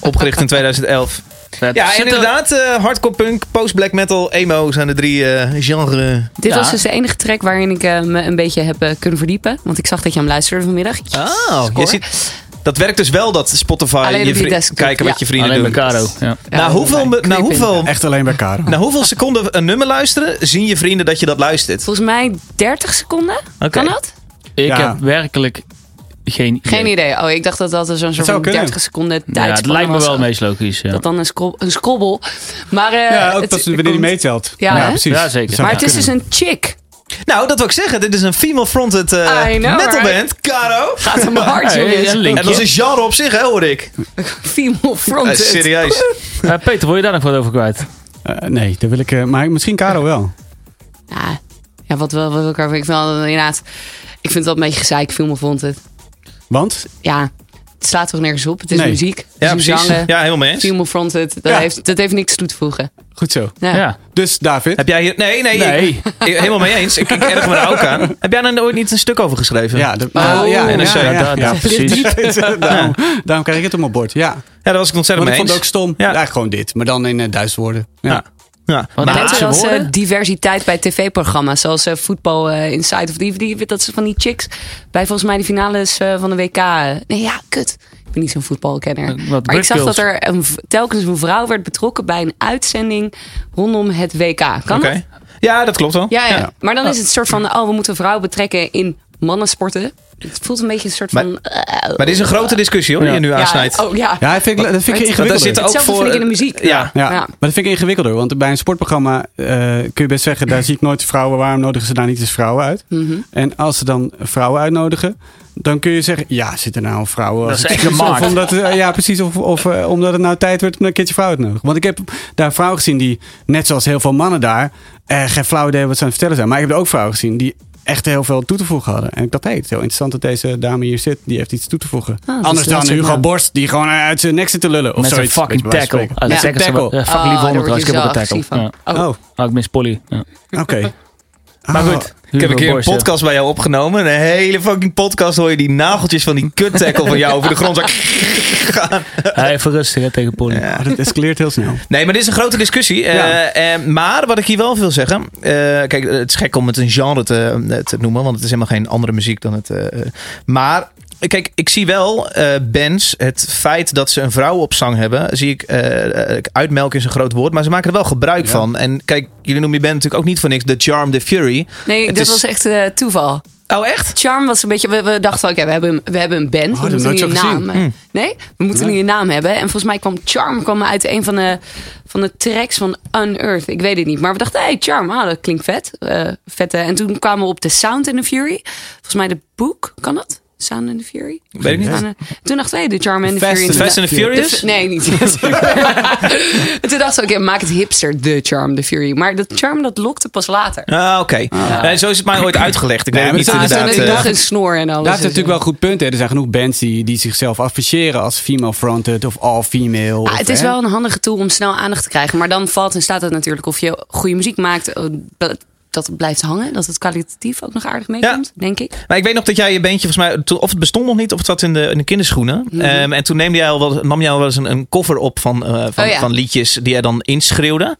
Speaker 2: opgericht in 2011.
Speaker 6: Vet.
Speaker 2: Ja, en
Speaker 6: Zit er-
Speaker 2: inderdaad, eh, hardcore punk, post-black metal, emo zijn de drie genres. genre.
Speaker 5: Dit
Speaker 6: Ja.
Speaker 5: was dus de enige track waarin ik eh, me een beetje heb eh, kunnen verdiepen. Want ik zag dat je hem luisterde vanmiddag. Yes,
Speaker 2: Oh, je
Speaker 5: score.
Speaker 2: ziet, dat werkt dus wel dat Spotify
Speaker 5: Alleen op
Speaker 2: je
Speaker 5: die
Speaker 2: vri-
Speaker 5: desktop,
Speaker 2: kijken wat
Speaker 5: ja.
Speaker 2: je vrienden
Speaker 6: Alleen
Speaker 2: doen.
Speaker 6: Mercado. Ja.
Speaker 5: Ja,
Speaker 2: na, hoeveel,
Speaker 5: online.
Speaker 2: me- na,
Speaker 5: Creeping.
Speaker 2: hoeveel,
Speaker 4: Echt alleen bij Karel.
Speaker 2: na hoeveel seconden een nummer luisteren, zien je vrienden dat je dat luistert.
Speaker 5: Volgens mij 30 seconden.
Speaker 2: Oké.
Speaker 5: Kan dat?
Speaker 6: Ik
Speaker 4: Ja.
Speaker 6: heb werkelijk geen idee.
Speaker 5: Geen idee. Oh, ik dacht dat dat zo'n soort
Speaker 4: zou
Speaker 5: van
Speaker 4: kunnen.
Speaker 5: 30 seconden tijd
Speaker 6: Ja, het lijkt me
Speaker 5: was.
Speaker 6: wel het meest logisch. Ja.
Speaker 5: Dat dan een, scrob- een scrobbel. Maar, eh,
Speaker 4: Ja, ook
Speaker 5: het-
Speaker 4: pas wanneer die
Speaker 5: komt-
Speaker 4: meetelt.
Speaker 5: Ja, hè?
Speaker 4: precies.
Speaker 6: Ja, zeker.
Speaker 4: Dat zou
Speaker 5: Maar het is dus
Speaker 4: kunnen.
Speaker 5: een chick.
Speaker 2: Nou, dat wil ik zeggen. Dit is een female-fronted eh,
Speaker 5: I know,
Speaker 2: metalband. Caro.
Speaker 5: Gaat hem hard,
Speaker 6: Hey,
Speaker 5: jongens.
Speaker 6: een linkje.
Speaker 2: En dat is een genre op zich, hè, hoor ik.
Speaker 5: Female
Speaker 2: Eh,
Speaker 5: fronted.
Speaker 2: serieus.
Speaker 6: Eh, Peter, wil je daar nog wat over kwijt?
Speaker 4: Eh, nee, dat wil ik... eh, maar misschien Karel wel.
Speaker 5: Ja, ja wat wel, wat wil ik ervan? Ik vind wel, inderdaad, ik vind dat een beetje gezeik. Film vond het.
Speaker 4: Want?
Speaker 5: Ja, het slaat toch nergens op. Het is
Speaker 4: Nee.
Speaker 5: muziek. Het
Speaker 2: Ja,
Speaker 5: is
Speaker 2: precies.
Speaker 5: zangen.
Speaker 2: Ja, heel mens.
Speaker 5: Female fronted. Dat,
Speaker 4: Ja.
Speaker 5: heeft, dat heeft niks toe te voegen.
Speaker 4: Goed zo.
Speaker 5: Ja.
Speaker 6: Ja.
Speaker 4: Dus, David.
Speaker 2: Heb jij hier... Nee, nee.
Speaker 6: Nee.
Speaker 2: Ik, ik- helemaal mee eens. Ik, ik erg me daar ook aan. Heb jij daar ooit niet een stuk over geschreven?
Speaker 4: Ja, de,
Speaker 5: Oh.
Speaker 4: ja, ja,
Speaker 2: En dan zei
Speaker 4: ja,
Speaker 2: je
Speaker 4: ja,
Speaker 6: dat-
Speaker 4: ja,
Speaker 6: dat-
Speaker 4: precies.
Speaker 6: precies.
Speaker 4: daarom, daarom krijg ik het op mijn bord. Ja,
Speaker 2: Ja, daar was ik het ontzettend
Speaker 4: want ik
Speaker 2: mee
Speaker 4: vond
Speaker 2: eens.
Speaker 4: het ook stom.
Speaker 2: Ja.
Speaker 4: Ja. gewoon dit, maar dan in eh, Duits woorden. Ja.
Speaker 2: Ja. Ja.
Speaker 6: Want
Speaker 5: Net
Speaker 6: Haagse
Speaker 5: zoals eh,
Speaker 6: woorden?
Speaker 5: diversiteit bij tv-programma's. Zoals eh, voetbal eh, Inside of die, die, dat ze van die chicks. Bij volgens mij de finales eh, van de WK. eh, nee, ja, kut. Ik ben niet zo'n voetbalkenner.
Speaker 6: Eh, wat
Speaker 5: maar ik zag
Speaker 6: Brugkils.
Speaker 5: dat er een, v- telkens een vrouw werd betrokken bij een uitzending rondom het WK. Kan dat?
Speaker 2: Oké. Ja, dat klopt wel.
Speaker 5: Ja, ja.
Speaker 4: Ja.
Speaker 5: maar dan is het een soort van, oh, we moeten vrouwen betrekken in mannensporten. Het voelt een beetje een soort
Speaker 2: Maar-
Speaker 5: van... eh,
Speaker 2: Maar dit is een grote discussie, hoor, die je nu aansnijdt.
Speaker 5: ja, oh, ja.
Speaker 4: Ja, dat vind ik, dat vind
Speaker 2: Want daar
Speaker 4: ik
Speaker 5: Want
Speaker 4: ingewikkelder.
Speaker 2: zitten ook
Speaker 5: Hetzelfde
Speaker 2: voor...
Speaker 5: vind ik in de muziek.
Speaker 2: Ja.
Speaker 4: ja.
Speaker 5: Ja.
Speaker 4: maar dat vind ik ingewikkelder. Want bij een sportprogramma eh, kun je best zeggen... daar zie ik nooit vrouwen. Waarom nodigen ze daar niet eens vrouwen uit? En als ze dan vrouwen uitnodigen... dan kun je zeggen... ja, zitten nou vrouwen...
Speaker 6: Dat is
Speaker 4: of-
Speaker 6: echt een markt.
Speaker 4: Of omdat, eh, ja, precies. Of, of eh, omdat het nou tijd werd om een keertje vrouwen uit te nodigen. Want ik heb daar vrouwen gezien die... net zoals heel veel mannen daar... eh, geen flauw idee wat ze aan het vertellen zijn. Maar ik heb er ook vrouwen gezien die echt heel veel toe te voegen hadden. En ik dacht, hé, het is heel interessant dat deze dame hier zit. Die heeft iets toe te voegen.
Speaker 5: dat is
Speaker 4: Anders
Speaker 5: wel
Speaker 4: dan
Speaker 5: zo,
Speaker 4: Hugo
Speaker 5: ja.
Speaker 4: Borst, die gewoon eh, uit zijn nek zit te lullen. Of
Speaker 6: Met
Speaker 4: zoiets.
Speaker 6: zijn fucking
Speaker 4: Weet je, bij wijze van
Speaker 6: tackle.
Speaker 4: spreken.
Speaker 6: Ah,
Speaker 5: Ja.
Speaker 6: dat zeggen ze wel.
Speaker 4: Tackle.
Speaker 6: Eh,
Speaker 5: Oh,
Speaker 6: Fucking lief
Speaker 5: daar
Speaker 6: honderd
Speaker 5: word
Speaker 6: trouwens.
Speaker 5: je
Speaker 6: Ik heb
Speaker 5: zo agressief
Speaker 6: ook een tackle. Ja.
Speaker 5: van. Oh.
Speaker 4: Oh,
Speaker 6: Oh, ik mis Polly. Ja.
Speaker 4: oké.
Speaker 2: Maar
Speaker 4: Ah,
Speaker 2: goed, ik heb een keer een podcast bij jou opgenomen. Een hele fucking podcast hoor je die nageltjes van die kut-tackle van jou over de grond. Zo-
Speaker 6: Hij heeft rustig hè, tegen Polly.
Speaker 4: ah, dat escaleert heel snel.
Speaker 2: Nee, maar dit is een grote discussie.
Speaker 4: Ja.
Speaker 2: Eh, eh, maar wat ik hier wel wil zeggen. eh, kijk, het is gek om het een genre te, eh, te noemen. Want het is helemaal geen andere muziek dan het. eh, eh, maar. Kijk, ik zie wel eh bands, het feit dat ze een vrouw op zang hebben, zie ik, eh, eh, uitmelken is een groot woord, maar ze maken er wel gebruik
Speaker 4: Ja.
Speaker 2: van. En kijk, jullie noemen je band natuurlijk ook niet voor niks The Charm, The Fury.
Speaker 5: Nee,
Speaker 2: Het
Speaker 5: dat
Speaker 2: is-
Speaker 5: was echt eh, toeval.
Speaker 2: Oh echt?
Speaker 5: Charm was een beetje. We, we dachten, oké, we, hebben, we hebben een band.
Speaker 4: Oh, dat
Speaker 5: we moeten
Speaker 4: heb
Speaker 5: nu
Speaker 4: ik
Speaker 5: een
Speaker 4: nooit zo Hm.
Speaker 5: naam. Nee, we moeten nu een naam hebben. En volgens mij kwam Charm kwam uit een van de, van de tracks van Unearth. Ik weet het niet. Maar we dachten, hey, Charm, ah, dat klinkt vet. Eh, vet eh. En toen kwamen we op The Sound and the Fury. Volgens mij de boek, kan dat? Sound and the Fury?
Speaker 2: Weet ik niet.
Speaker 5: Aan, eh, Toen dachten we, hey, The Charm and the
Speaker 4: Fast
Speaker 5: Fury.
Speaker 4: and-
Speaker 2: Fast and the Furious?
Speaker 5: De- nee, niet. En toen dachten we, oké, maak het hipster, The Charm, The Fury. Maar dat Charm, dat lokte pas later.
Speaker 2: Ah, oké. Eh, zo is het mij ooit uitgelegd. Ik
Speaker 4: Nee,
Speaker 2: weet het niet
Speaker 4: maar dat is-
Speaker 5: Toen
Speaker 2: inderdaad.
Speaker 5: heb
Speaker 4: dat eh,
Speaker 5: ik nog een snor en alles.
Speaker 4: Daar heeft
Speaker 5: Dus,
Speaker 4: natuurlijk wel een goed punt. Hè. Er zijn genoeg bands die, die zichzelf afficheren als female fronted of all female.
Speaker 5: Ah,
Speaker 4: of,
Speaker 5: het is
Speaker 4: hè.
Speaker 5: wel een handige tool om snel aandacht te krijgen. Maar dan valt en staat het natuurlijk of je goede muziek maakt. eh, be- dat het blijft hangen. Dat het kwalitatief ook nog aardig meekomt, denk ik.
Speaker 2: Maar ik weet nog dat jij je beentje, volgens mij, toen- of het bestond nog niet, of het zat in de, in de kinderschoenen.
Speaker 5: Mhm.
Speaker 2: Ehm, en toen neemde jij al wel, nam jij al wel eens een, een cover op van, eh, van,
Speaker 5: Oh ja.
Speaker 2: van liedjes die jij dan inschreeuwde.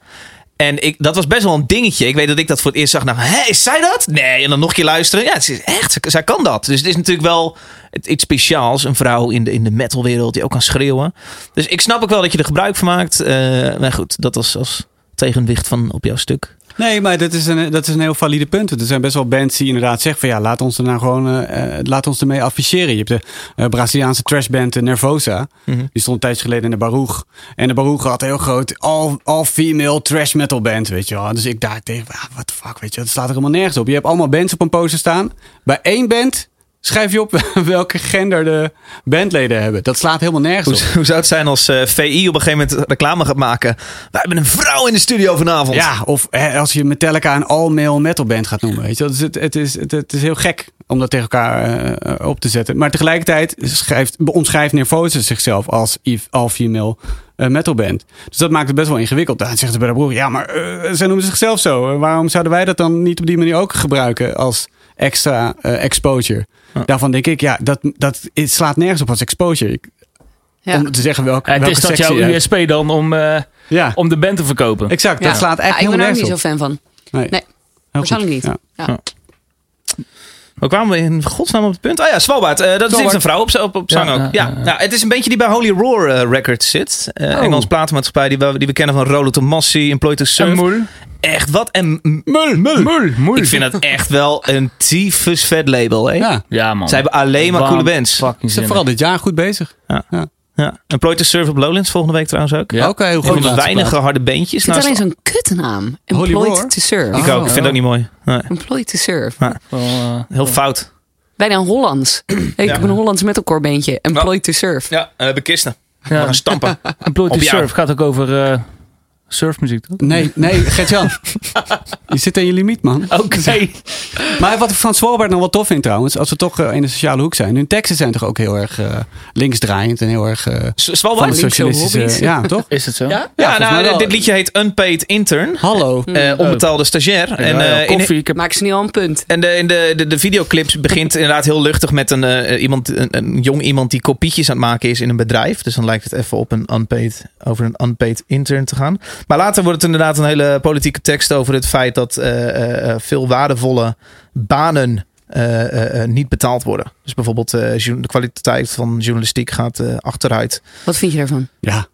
Speaker 2: En ik, dat was best wel een dingetje. Ik weet dat ik dat voor het eerst zag. Nou, hé, is zij dat? Nee. En dan nog een keer luisteren. Ja, het is echt, zij- zij kan dat. Dus het is natuurlijk wel het- iets speciaals. Een vrouw in de, in de metalwereld die ook kan schreeuwen. Dus ik snap ook wel dat je er gebruik van maakt. Eh maar goed, dat was als tegenwicht van op jouw stuk.
Speaker 4: Nee, maar dat is, een, dat is een heel valide punt. Want Er zijn best wel bands die inderdaad zeggen van ja, laat ons er nou gewoon, eh, eh, laat ons ermee afficheren. Je hebt de eh, Braziliaanse trashband eh, Nervosa. Die stond een tijdje geleden in de Baruch. En de Baruch had een heel groot all- all-female trash metal band, weet je wel. Dus ik daar tegen, ah, what the fuck, weet je wel. Dat slaat er helemaal nergens op. Je hebt allemaal bands op een poster staan. Bij één band schrijf je op welke gender de bandleden hebben. Dat slaat helemaal nergens
Speaker 2: Hoe,
Speaker 4: op.
Speaker 2: hoe zou het zijn als eh, VI op een gegeven moment reclame gaat maken? Wij hebben een vrouw in de studio vanavond.
Speaker 4: Ja, of hè, als je Metallica een all-male metal band gaat noemen. Weet je? wel. Dus het, het, is, het, het is heel gek om dat tegen elkaar eh, eh, op te zetten. Maar tegelijkertijd schrijft, omschrijft Nervosa zichzelf als if- all-female eh, metal band. Dus dat maakt het best wel ingewikkeld. Dan zegt ze bij de broer, ja, maar eh, zij noemen zichzelf zo. Eh, waarom zouden wij dat dan niet op die manier ook gebruiken als extra eh, exposure? Daarvan denk ik, ja, dat, dat het slaat nergens op als exposure. Ik-
Speaker 5: Ja.
Speaker 4: Om te zeggen welke,
Speaker 6: Ja, het
Speaker 4: welke
Speaker 6: is dat
Speaker 4: sectie
Speaker 6: jouw
Speaker 4: je hebt.
Speaker 6: USP dan om, eh,
Speaker 4: Ja,
Speaker 6: om de band te verkopen.
Speaker 4: exact. Dat
Speaker 5: Ja.
Speaker 4: slaat echt
Speaker 5: Ja, Ik ben
Speaker 4: helemaal
Speaker 5: er ook niet
Speaker 4: nergens
Speaker 5: zo
Speaker 4: op.
Speaker 5: fan van.
Speaker 4: Nee,
Speaker 5: Nee,
Speaker 4: heel goed.
Speaker 5: persoonlijk niet.
Speaker 4: Ja.
Speaker 5: Ja.
Speaker 2: Ja. Hoe kwamen we in godsnaam op het punt? Ah ja, Svalbard. Eh, dat is
Speaker 4: Svalbard.
Speaker 2: een vrouw op, op, op zang
Speaker 6: Ja,
Speaker 2: ook.
Speaker 6: ja,
Speaker 2: Ja,
Speaker 6: ja, ja.
Speaker 2: Nou, het is een beetje die bij Holy Roar eh, Records zit. Eh,
Speaker 5: Oh.
Speaker 2: Engels platenmaatschappij die we, die we kennen van Rolo Tomassi, Employ to Serve. Echt, wat een... Mul, mul.
Speaker 6: Mul, mul.
Speaker 2: Ik vind dat echt wel een tyfus vet label. Hè?
Speaker 4: Ja.
Speaker 6: Ja, man.
Speaker 2: Ze hebben alleen maar
Speaker 6: Waarom
Speaker 2: coole bands.
Speaker 6: Fucking
Speaker 4: Ze zijn
Speaker 6: zin.
Speaker 4: vooral dit jaar goed bezig.
Speaker 2: Ja. Employ to Serve op Lowlands volgende week trouwens ook.
Speaker 6: Ja.
Speaker 4: Oké, heel
Speaker 2: Een van
Speaker 4: goed.
Speaker 2: de weinige harde beentjes.
Speaker 5: Ik vind
Speaker 2: Nou,
Speaker 5: het alleen zo'n kutnaam.
Speaker 4: Holy Roar?
Speaker 5: Employed to serve. Oh.
Speaker 2: ik ook. Ik vind dat niet mooi. Nee.
Speaker 5: Employed to serve.
Speaker 6: Wel, eh,
Speaker 2: Heel fout.
Speaker 5: Bijna een Hollands. Ik heb een Hollands metalcore bandje. Employed to serve.
Speaker 2: Ja, we hebben kisten.
Speaker 6: ja.
Speaker 2: We gaan stampen.
Speaker 6: Employed
Speaker 2: Op
Speaker 6: to
Speaker 2: jou.
Speaker 6: Surf gaat ook over eh, surfmuziek, toch?
Speaker 4: Nee, nee, Gert-Jan. je zit aan je limiet, man.
Speaker 6: Oké.
Speaker 4: Maar wat ik van Swalbard nog wel tof vind trouwens, als we toch eh, in de sociale hoek zijn. Hun teksten zijn toch ook heel erg eh, linksdraaiend en heel erg eh, van de
Speaker 2: Svalbard?
Speaker 5: linkse
Speaker 4: socialistische...
Speaker 5: hobby's.
Speaker 4: Ja, toch?
Speaker 6: Is het zo?
Speaker 5: Ja?
Speaker 2: Ja,
Speaker 4: volgens mij
Speaker 2: nou,
Speaker 4: wel. Oh.
Speaker 2: dit liedje heet Unpaid Intern.
Speaker 4: Hallo.
Speaker 2: Eh, onbetaalde stagiair. En,
Speaker 6: En,
Speaker 2: eh, in-
Speaker 6: koffie. Oh. Ik heb
Speaker 5: Maak ze niet al een punt.
Speaker 2: en de, in de, de, de videoclips begint inderdaad heel luchtig met een, eh, iemand, een, een jong iemand die kopietjes aan het maken is in een bedrijf. Dus dan lijkt het even op een unpaid, over een unpaid intern te gaan. Maar later wordt het inderdaad een hele politieke tekst over het feit dat eh, eh, eh, veel waardevolle banen eh, eh, eh, niet betaald worden. Dus bijvoorbeeld eh, jour- de kwaliteit van journalistiek gaat eh, achteruit.
Speaker 5: Wat vind je daarvan?
Speaker 4: Ja.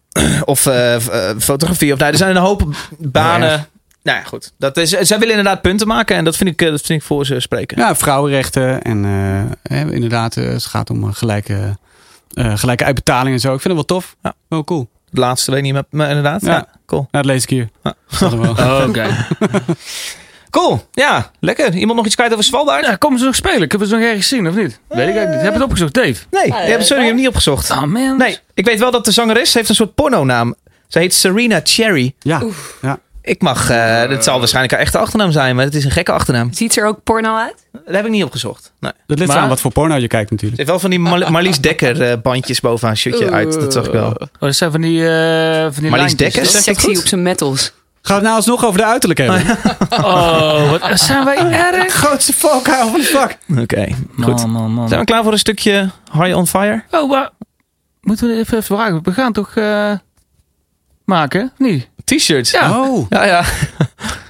Speaker 2: Of eh, f- eh, fotografie. Of, nou, er zijn een hoop banen.
Speaker 4: Ja,
Speaker 2: Nou ja, goed. Dat is, zij willen inderdaad punten maken. En dat vind ik, eh, dat vind ik voor ze spreken.
Speaker 4: ja, vrouwenrechten en eh, hè, inderdaad, eh, het gaat om eh, gelijke, eh, gelijke uitbetaling en zo. Ik vind het wel tof.
Speaker 2: Ja.
Speaker 4: Wel cool.
Speaker 2: Het laatste weet ik niet meer. Maar inderdaad. Ja.
Speaker 4: Ja.
Speaker 2: cool.
Speaker 4: Nou, dat lees ik hier.
Speaker 2: Ja.
Speaker 4: Staat er
Speaker 2: Oh,
Speaker 4: wel.
Speaker 6: Oh, Oké.
Speaker 2: Cool. Ja, lekker. Iemand nog iets kwijt over Svalbard?
Speaker 6: Ja, komen ze nog spelen? Ik heb het nog ergens gezien, of niet? Weet ik eigenlijk niet. Heb je het opgezocht, Dave?
Speaker 2: Nee, je hebt, sorry, ik heb hem niet opgezocht.
Speaker 6: Ah, man.
Speaker 2: Nee, ik weet wel dat de zangeres heeft een soort pornonaam. Ze heet Serena Cherry.
Speaker 4: Ja. ja.
Speaker 2: Ik mag, eh het zal waarschijnlijk haar echte achternaam zijn, maar het is een gekke achternaam.
Speaker 5: Ziet er ook porno uit?
Speaker 2: Dat heb ik niet opgezocht. Nee. Ze
Speaker 4: Dat ligt
Speaker 6: Maar-
Speaker 4: aan wat voor porno je kijkt natuurlijk.
Speaker 2: heeft wel van die Mar- Marlies Dekker eh, bandjes boven haar shirtje uit. Dat zag ik wel.
Speaker 6: Oh, dat zijn van die... eh van
Speaker 2: Marlies
Speaker 6: die lijntjes,
Speaker 2: Dekker?
Speaker 6: toch?
Speaker 2: Zeg ik
Speaker 5: Sexy
Speaker 2: goed?
Speaker 5: op zijn metals.
Speaker 4: Gaat het nou alsnog over de uiterlijk hebben?
Speaker 6: Oh, wat zijn wij erg.
Speaker 4: Grootste fuck, hou van de fuck.
Speaker 2: Oké, goed.
Speaker 6: Man, man, man.
Speaker 2: Zijn we klaar voor een stukje High on Fire?
Speaker 6: Oh, maar... Moeten we even vragen? We gaan toch... eh, maken, of niet?
Speaker 2: T-shirts.
Speaker 6: Ja.
Speaker 4: Oh.
Speaker 2: Ja, ja.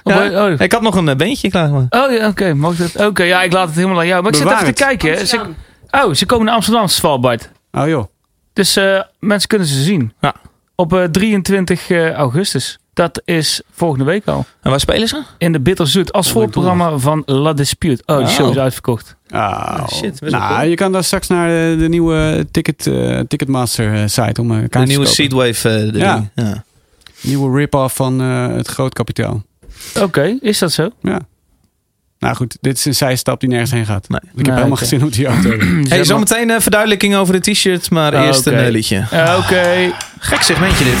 Speaker 6: Of-
Speaker 2: Ja.
Speaker 6: Oh,
Speaker 2: Ik had nog een eh, beentje klaar. maar-
Speaker 6: Oh ja, oké. mag dat? Oké, ja, ik laat het helemaal aan jou. Maar ik
Speaker 4: Bewaar
Speaker 6: zit even te kijken. hè. Ze, oh, ze komen naar Amsterdam, Svalbard.
Speaker 4: Oh joh.
Speaker 6: Dus eh, mensen kunnen ze zien.
Speaker 2: Ja.
Speaker 6: Op eh, 23 augustus. Dat is volgende week al.
Speaker 2: En waar spelen ze?
Speaker 6: In de Bitterzoet. Als voorprogramma van La Dispute. Oh, die show is uitverkocht.
Speaker 4: Oh.
Speaker 2: Ah, shit, best wel
Speaker 4: nou,
Speaker 2: cool.
Speaker 4: je kan daar straks naar eh, de nieuwe ticket, eh, Ticketmaster eh, site om eh kaartjes
Speaker 2: De nieuwe
Speaker 4: te kopen.
Speaker 2: Seedwave. eh, de
Speaker 4: Ja.
Speaker 2: ding. ja.
Speaker 4: Nieuwe rip-off van eh, het groot kapitaal.
Speaker 6: Oké, is dat zo?
Speaker 4: Ja. Nou goed, dit is een zijstap die nergens heen gaat.
Speaker 2: Nee.
Speaker 4: Ik heb
Speaker 6: Nee,
Speaker 4: helemaal
Speaker 6: oké.
Speaker 4: geen zin om die auto. te hebben.
Speaker 2: Hey, zometeen eh verduidelijking over de T-shirt, maar
Speaker 6: Oh,
Speaker 2: eerst
Speaker 6: oké.
Speaker 2: een eh, liedje.
Speaker 6: Eh, Oké.
Speaker 2: Gek segmentje dit.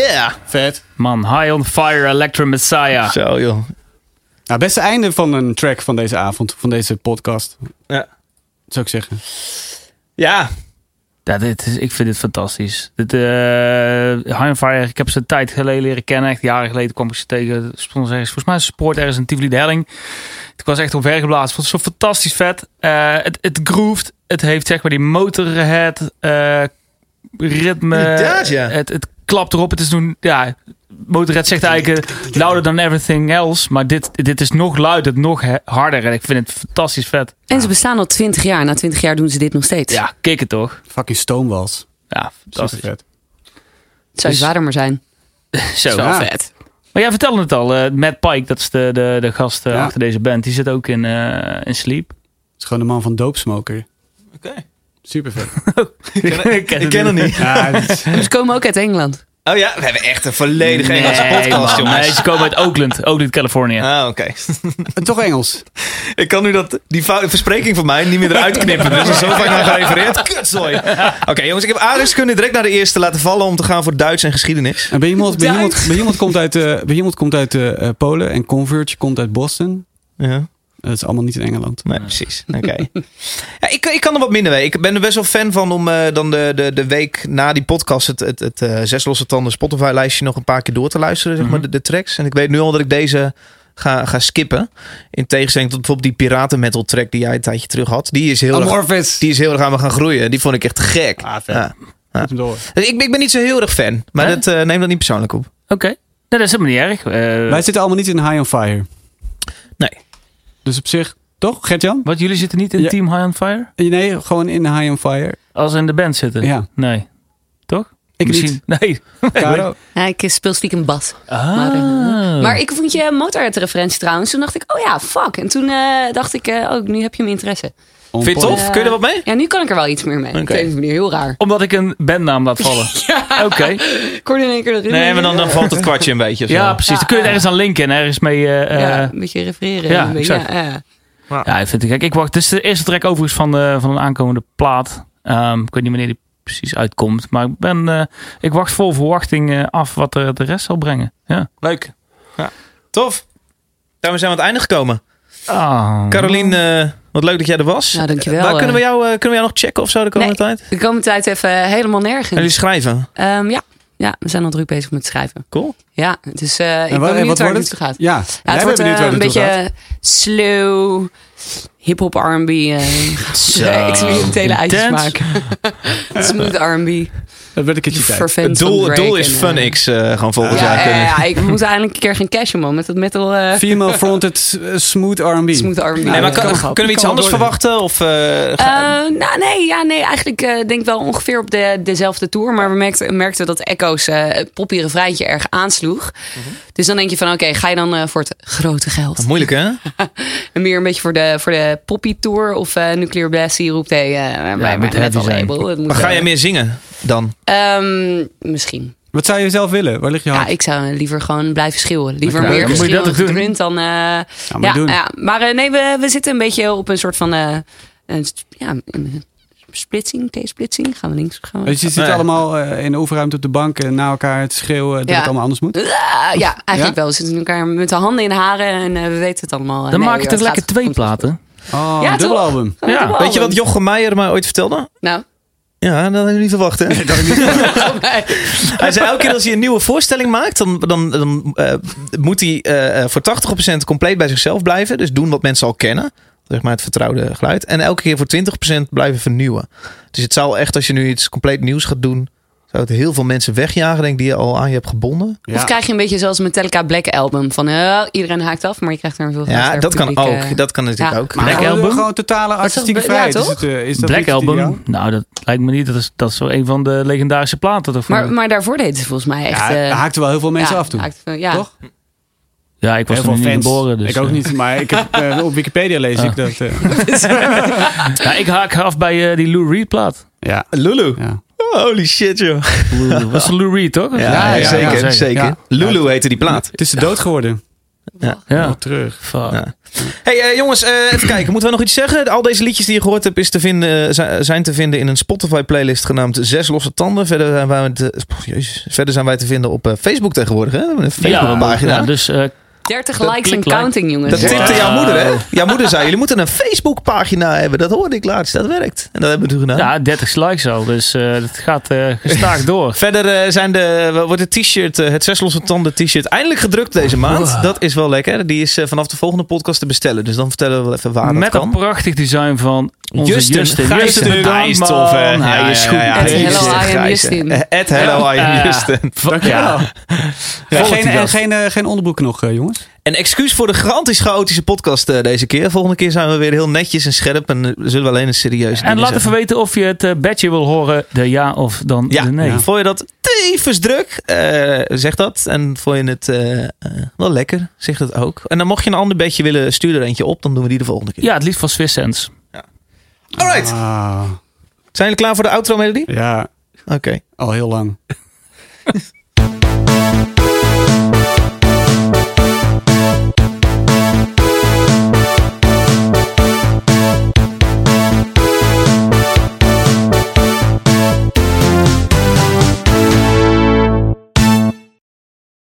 Speaker 6: Ja,
Speaker 4: Vet.
Speaker 6: man. High on Fire, Electro Messiah.
Speaker 2: Zo joh.
Speaker 4: Nou, beste einde van een track van deze avond, van deze podcast,
Speaker 2: Ja.
Speaker 4: zou ik zeggen.
Speaker 2: Ja,
Speaker 6: Ja, dit is, ik vind dit fantastisch. Dit, eh, High on Fire, ik heb ze een tijd geleden leren kennen. Echt jaren geleden kwam ik ze tegen. Stond ze ergens, volgens mij sport ergens in Tivoli de Helling. Ik was echt omvergeblazen. Vond het zo fantastisch vet. Eh, het, het groeft. Het heeft zeg maar die motorhead eh, ritme.
Speaker 2: Inderdaad, ja.
Speaker 6: het, het klapt erop. Het is toen, ja, Motorhead zegt eigenlijk eh, louder than everything else. Maar dit, dit is nog luider, nog he- harder. En ik vind het fantastisch vet.
Speaker 5: En ze bestaan al 20 jaar. Na 20 jaar doen ze dit nog steeds.
Speaker 6: Ja, kicken toch?
Speaker 4: Fucking Stonewalls.
Speaker 6: Ja,
Speaker 4: Super
Speaker 6: fantastisch.
Speaker 4: vet.
Speaker 5: Het zou
Speaker 6: Dus-
Speaker 5: zwaarder maar zijn.
Speaker 6: Zo.
Speaker 4: Ja.
Speaker 5: vet.
Speaker 6: Maar jij vertelde het al, eh, Matt Pike, dat is de, de, de gast eh,
Speaker 4: Ja.
Speaker 6: achter deze band. Die zit ook in, eh, in Sleep.
Speaker 4: Het is gewoon de man van Doopsmoker.
Speaker 2: Oké.
Speaker 4: Super vet.
Speaker 6: ik ken,
Speaker 2: ik ken hem niet.
Speaker 4: ja, dit is-
Speaker 5: Ze komen ook uit Engeland.
Speaker 2: Oh ja, we hebben echt een volledige Engelse podcast,
Speaker 6: man.
Speaker 2: jongens.
Speaker 6: Nee, ze komen uit Oakland, Oakland, Californië.
Speaker 2: Ah, oké.
Speaker 4: toch Engels.
Speaker 2: Ik kan nu dat, die fout- verspreking van mij niet meer eruit knippen. Dus er is zo vaak naar gerefereerd. Kutzooi. Oké, jongens, ik heb aardrijkskunde direct naar de eerste laten vallen om te gaan voor Duits en geschiedenis.
Speaker 4: En bij iemand, bij
Speaker 5: Duits.
Speaker 4: iemand, bij iemand komt uit, eh, bij iemand komt uit eh, eh, Polen en Convertje komt uit Boston.
Speaker 2: Ja,
Speaker 4: Dat is allemaal niet in Engeland.
Speaker 2: nee, precies. Oké. Ja, ik, ik kan er wat minder mee. Ik ben er best wel fan van om eh, dan de, de, de week na die podcast het, het, het eh, Zes Losse Tanden Spotify-lijstje nog een paar keer door te luisteren, zeg maar,
Speaker 4: Mhm.
Speaker 2: de, de tracks. En ik weet nu al dat ik deze ga, ga skippen. In tegenstelling tot bijvoorbeeld die piraten-metal track die jij een tijdje terug had. Die is heel erg
Speaker 4: Amorphis.
Speaker 2: Die is heel erg aan me gaan groeien. Die vond ik echt gek.
Speaker 4: Ah, vet.
Speaker 2: Ja.
Speaker 4: Moet hem door.
Speaker 2: Dus Ik, ik ben niet zo heel erg fan. Maar
Speaker 6: Nee?
Speaker 2: dat, eh, neem dat niet persoonlijk op.
Speaker 6: Oké, Nee, dat is helemaal niet erg. Eh,
Speaker 4: Wij zitten allemaal niet in High on Fire.
Speaker 2: Nee.
Speaker 4: Dus op zich, toch Gert-Jan?
Speaker 6: wat, jullie zitten niet in
Speaker 4: Ja.
Speaker 6: Team High on Fire?
Speaker 4: Nee, gewoon in High on Fire.
Speaker 6: Als ze in de band zitten?
Speaker 4: Ja.
Speaker 6: Nee. Toch?
Speaker 4: Ik
Speaker 6: Misschien. Nee.
Speaker 4: niet. Caro?
Speaker 5: Ja, ik speel stiekem bas. Maar, eh,
Speaker 6: Ah.
Speaker 5: Maar ik vond je motorhead referentie trouwens. Toen dacht ik, oh ja, fuck. En toen eh, dacht ik, eh, oh, nu heb je mijn interesse.
Speaker 2: Vind je het tof?
Speaker 5: Eh,
Speaker 2: Kun je er wat mee?
Speaker 5: Ja, nu kan ik er wel iets meer mee. Op
Speaker 2: Oké.
Speaker 5: een of andere manier, heel raar.
Speaker 6: Omdat ik een bandnaam laat vallen. Oké.
Speaker 5: Ik hoorde in één keer dat
Speaker 2: Nee, maar
Speaker 5: eh,
Speaker 2: dan, dan valt het kwartje een beetje.
Speaker 6: Ja, precies. Dan kun je het ergens aan linken en ergens mee... eh,
Speaker 5: Ja,
Speaker 6: eh,
Speaker 5: een beetje refereren.
Speaker 6: ja,
Speaker 5: een beetje,
Speaker 6: exact.
Speaker 5: ja, ja.
Speaker 6: Ja, ik vind het gek. Ik wacht. Dit is de eerste track overigens van, eh, van een aankomende plaat. Ehm, ik weet niet wanneer die precies uitkomt. Maar ik, ben, eh, ik wacht vol verwachting eh, af wat er de rest zal brengen. Ja.
Speaker 2: Leuk. Ja. Tof. Daarmee zijn we aan het einde gekomen.
Speaker 6: Ah.
Speaker 2: Carolien, eh, wat leuk dat jij er was.
Speaker 5: Nou, dankjewel,
Speaker 2: Eh, Waar
Speaker 5: eh.
Speaker 2: kunnen we, jou, eh, kunnen we jou nog checken of zo de komende
Speaker 5: Nee.
Speaker 2: tijd? En
Speaker 5: De komende tijd even helemaal nergens.
Speaker 2: jullie schrijven.
Speaker 5: Ehm, ja. ja, we zijn al druk bezig met schrijven.
Speaker 2: Cool.
Speaker 5: Ja, dus eh,
Speaker 4: En
Speaker 5: ik ben
Speaker 4: wat- en
Speaker 5: benieuwd
Speaker 4: wat
Speaker 5: waar het
Speaker 4: wordt
Speaker 5: naartoe gaat.
Speaker 4: Ja,
Speaker 5: Ja,
Speaker 4: jij
Speaker 5: het
Speaker 4: bent
Speaker 5: wordt eh,
Speaker 4: benieuwd waar
Speaker 5: een
Speaker 4: het naartoe gaat.
Speaker 5: beetje slow, hip-hop R&B. eh, experimentele eitjes
Speaker 6: Intens.
Speaker 5: maken. Smooth R&B.
Speaker 4: Dat werd een keertje tijd.
Speaker 5: vervent
Speaker 2: het doel,
Speaker 5: van
Speaker 2: het doel
Speaker 5: Drake
Speaker 2: is
Speaker 5: en, eh,
Speaker 2: FunX eh, gewoon volgens
Speaker 5: Ja,
Speaker 2: jou.
Speaker 5: ja,
Speaker 2: kunnen.
Speaker 5: ja, ik moet eigenlijk een keer gaan cashen, man. Met dat metal eh
Speaker 4: Female fronted eh, smooth R&B.
Speaker 5: smooth R&B.
Speaker 2: Nee, maar
Speaker 5: Ja.
Speaker 2: kan-
Speaker 4: wel.
Speaker 2: kunnen we iets
Speaker 4: Kan wel
Speaker 2: anders
Speaker 4: worden.
Speaker 2: verwachten? Of, eh, ga-
Speaker 5: Eh, nou, nee, ja, nee, eigenlijk eh, denk ik wel ongeveer op de, dezelfde tour. Maar we merkten, merkten dat Echo's eh het poppy refreintje erg aansloeg.
Speaker 2: Mhm.
Speaker 5: Dus dan denk je van, oké, ga je dan eh, voor het grote geld?
Speaker 2: Moeilijk, hè?
Speaker 5: En meer een beetje voor de, voor de poppy tour of eh, Nuclear Blast. Die roept, hey, eh, bij
Speaker 6: moet
Speaker 5: mijn
Speaker 6: heavy
Speaker 5: metal
Speaker 6: zijn.
Speaker 5: label. het moet,
Speaker 2: Maar ga
Speaker 5: eh,
Speaker 2: je meer zingen dan?
Speaker 5: ehm, misschien.
Speaker 4: Wat zou je zelf willen? Waar ligt je
Speaker 2: Ah.
Speaker 5: Ja,
Speaker 4: hart?
Speaker 5: ik zou liever gewoon blijven schreeuwen. Liever
Speaker 6: Ja,
Speaker 5: meer
Speaker 6: dan moet je
Speaker 5: geschreeuw
Speaker 6: dat
Speaker 5: en
Speaker 6: toch doen?
Speaker 5: gedrunt dan... eh, ja,
Speaker 4: maar
Speaker 5: maar
Speaker 4: doen.
Speaker 5: ja, maar eh, nee, we, we zitten een beetje op een soort van... eh, een s- ja, een splitsing, T-splitsing. Gaan we links of gaan we...
Speaker 4: Weet je, je zit
Speaker 2: Nee.
Speaker 4: allemaal eh, in de overruimte op de bank en na elkaar te schreeuwen dat
Speaker 5: Ja.
Speaker 4: het allemaal anders moet.
Speaker 5: Ah, ja, eigenlijk
Speaker 4: Ja?
Speaker 5: wel. We zitten elkaar met de handen in de haren en eh, we weten het allemaal.
Speaker 6: Dan
Speaker 5: Nee,
Speaker 6: maak ik
Speaker 5: joh,
Speaker 6: er
Speaker 5: het
Speaker 6: lekker
Speaker 5: gaat
Speaker 6: twee
Speaker 5: goed.
Speaker 6: platen.
Speaker 4: Oh,
Speaker 5: Ja,
Speaker 4: een dubbelalbum.
Speaker 5: Gewoon
Speaker 6: Ja.
Speaker 5: dubbel
Speaker 2: Weet je wat
Speaker 5: album.
Speaker 2: Jochem Meijer mij ooit vertelde?
Speaker 5: Nou, Oh,
Speaker 2: Ja, dat had ik niet verwacht, hè? Hij zei, elke keer als hij een nieuwe voorstelling maakt, dan, dan, dan eh, moet hij eh, eh, voor 80% compleet bij zichzelf blijven. Dus doen wat mensen al kennen. Zeg maar het vertrouwde geluid. En elke keer voor 20% blijven vernieuwen. Dus het zou echt, als je nu iets compleet nieuws gaat doen, zou het heel veel mensen wegjagen, denk ik, die je al aan je hebt gebonden.
Speaker 5: Of krijg je een beetje zoals Metallica Black Album. Van eh, iedereen haakt af, maar je krijgt er een veel
Speaker 2: Ja,
Speaker 5: groter
Speaker 2: dat kan
Speaker 5: publiek, eh,
Speaker 2: ook. Dat kan natuurlijk
Speaker 5: ja,
Speaker 2: ook.
Speaker 4: Maar
Speaker 6: Black
Speaker 4: gewoon-
Speaker 6: Album?
Speaker 4: Gewoon totale artistieke
Speaker 5: ja,
Speaker 4: vrijheid.
Speaker 5: toch?
Speaker 4: Is het, eh, is dat
Speaker 6: Black
Speaker 4: niet het ideaal?
Speaker 6: Album. Nou, dat lijkt me niet. Dat is, dat is zo een van de legendarische platen. Toch?
Speaker 5: Maar, maar daarvoor deed ze volgens mij echt...
Speaker 4: Ja,
Speaker 5: eh,
Speaker 4: daar haakten wel heel veel mensen
Speaker 5: ja,
Speaker 4: af toen.
Speaker 5: haakt- ja.
Speaker 4: Toch?
Speaker 6: ja, ik was
Speaker 4: Heel
Speaker 6: toen
Speaker 4: veel
Speaker 6: niet
Speaker 4: fans.
Speaker 6: geboren. Dus,
Speaker 4: ik ook
Speaker 6: eh.
Speaker 4: niet, maar ik heb, eh, op Wikipedia lees ik dat. eh,
Speaker 6: Ja, ik haak af bij eh, die Lou Reed plaat.
Speaker 4: ja.
Speaker 2: Lulu.
Speaker 4: Ja.
Speaker 2: Holy shit, joh.
Speaker 6: Dat was een Lou Reed, toch?
Speaker 2: Ja,
Speaker 4: ja,
Speaker 2: zeker.
Speaker 4: ja,
Speaker 2: zeker.
Speaker 4: Ja.
Speaker 2: Lulu heette die plaat.
Speaker 4: Het is de dood geworden.
Speaker 5: Wacht.
Speaker 6: Ja.
Speaker 4: terug.
Speaker 6: Fuck.
Speaker 2: Ja. Hey eh, jongens, eh, even kijken. Moeten we nog iets zeggen? Al deze liedjes die je gehoord hebt is te vinden, eh, zi- zijn te vinden in een Spotify-playlist genaamd Zes Losse Tanden. Verder zijn wij, te, pff, jezus. verder zijn wij te vinden op eh, Facebook tegenwoordig. Hè? We hebben een Facebookpagina.
Speaker 6: ja, dus eh,
Speaker 5: 30
Speaker 6: Dat
Speaker 5: likes en
Speaker 6: klinkt like.
Speaker 5: counting, jongens.
Speaker 2: Dat
Speaker 6: Wow.
Speaker 2: tipte jouw moeder, hè? Jouw moeder zei, jullie moeten een Facebookpagina hebben. Dat hoorde ik laatst, dat werkt. En dat hebben we toen gedaan.
Speaker 6: ja, 30 likes al. Dus eh dat gaat eh gestaag door.
Speaker 2: Verder eh, zijn de, wordt het t-shirt, eh, het Zes Losse Tanden t-shirt, eindelijk gedrukt deze maand. Dat is wel lekker. Die is eh, vanaf de volgende podcast te bestellen. Dus dan vertellen we wel even waar dat
Speaker 6: Met
Speaker 2: kan.
Speaker 6: een prachtig design van onze
Speaker 2: Justin,
Speaker 6: Justin.
Speaker 2: Gijzen.
Speaker 6: bedankt,
Speaker 2: Hij is
Speaker 6: man.
Speaker 2: tof, hè? Eh, Ja, ja,
Speaker 6: Hij is
Speaker 2: ja,
Speaker 6: goed.
Speaker 2: ja, ja.
Speaker 5: At
Speaker 6: bezig.
Speaker 5: hello, I am
Speaker 2: Gijzen.
Speaker 5: Justin.
Speaker 2: Eh, at hello, I am
Speaker 6: Ja.
Speaker 2: Justin.
Speaker 4: Dankjewel. Ja,
Speaker 2: Volgt
Speaker 4: geen,
Speaker 2: u
Speaker 4: en
Speaker 2: dat?
Speaker 4: geen, eh, geen onderbroek nog, eh, jongens.
Speaker 2: Een excuus voor de gigantisch chaotische podcast eh, deze keer. Volgende keer zijn we weer heel netjes en scherp. En eh, zullen we alleen een serieuze
Speaker 6: En
Speaker 2: dingen
Speaker 6: laat
Speaker 2: zeggen.
Speaker 6: even weten of je het eh, bedje wil horen, de ja of dan
Speaker 2: Ja,
Speaker 6: de nee.
Speaker 2: ja. vond je dat tevens druk? Eh, zeg dat. En vond je het eh, eh, wel lekker? Zeg dat ook. En dan mocht je een ander bedje willen, stuur er eentje op. Dan doen we die de volgende keer.
Speaker 6: Ja, het liefst van Swiss Sense.
Speaker 2: Alright.
Speaker 4: Ah,
Speaker 2: Zijn jullie klaar voor de outro melodie?
Speaker 4: ja,
Speaker 2: Oké.
Speaker 4: al heel lang.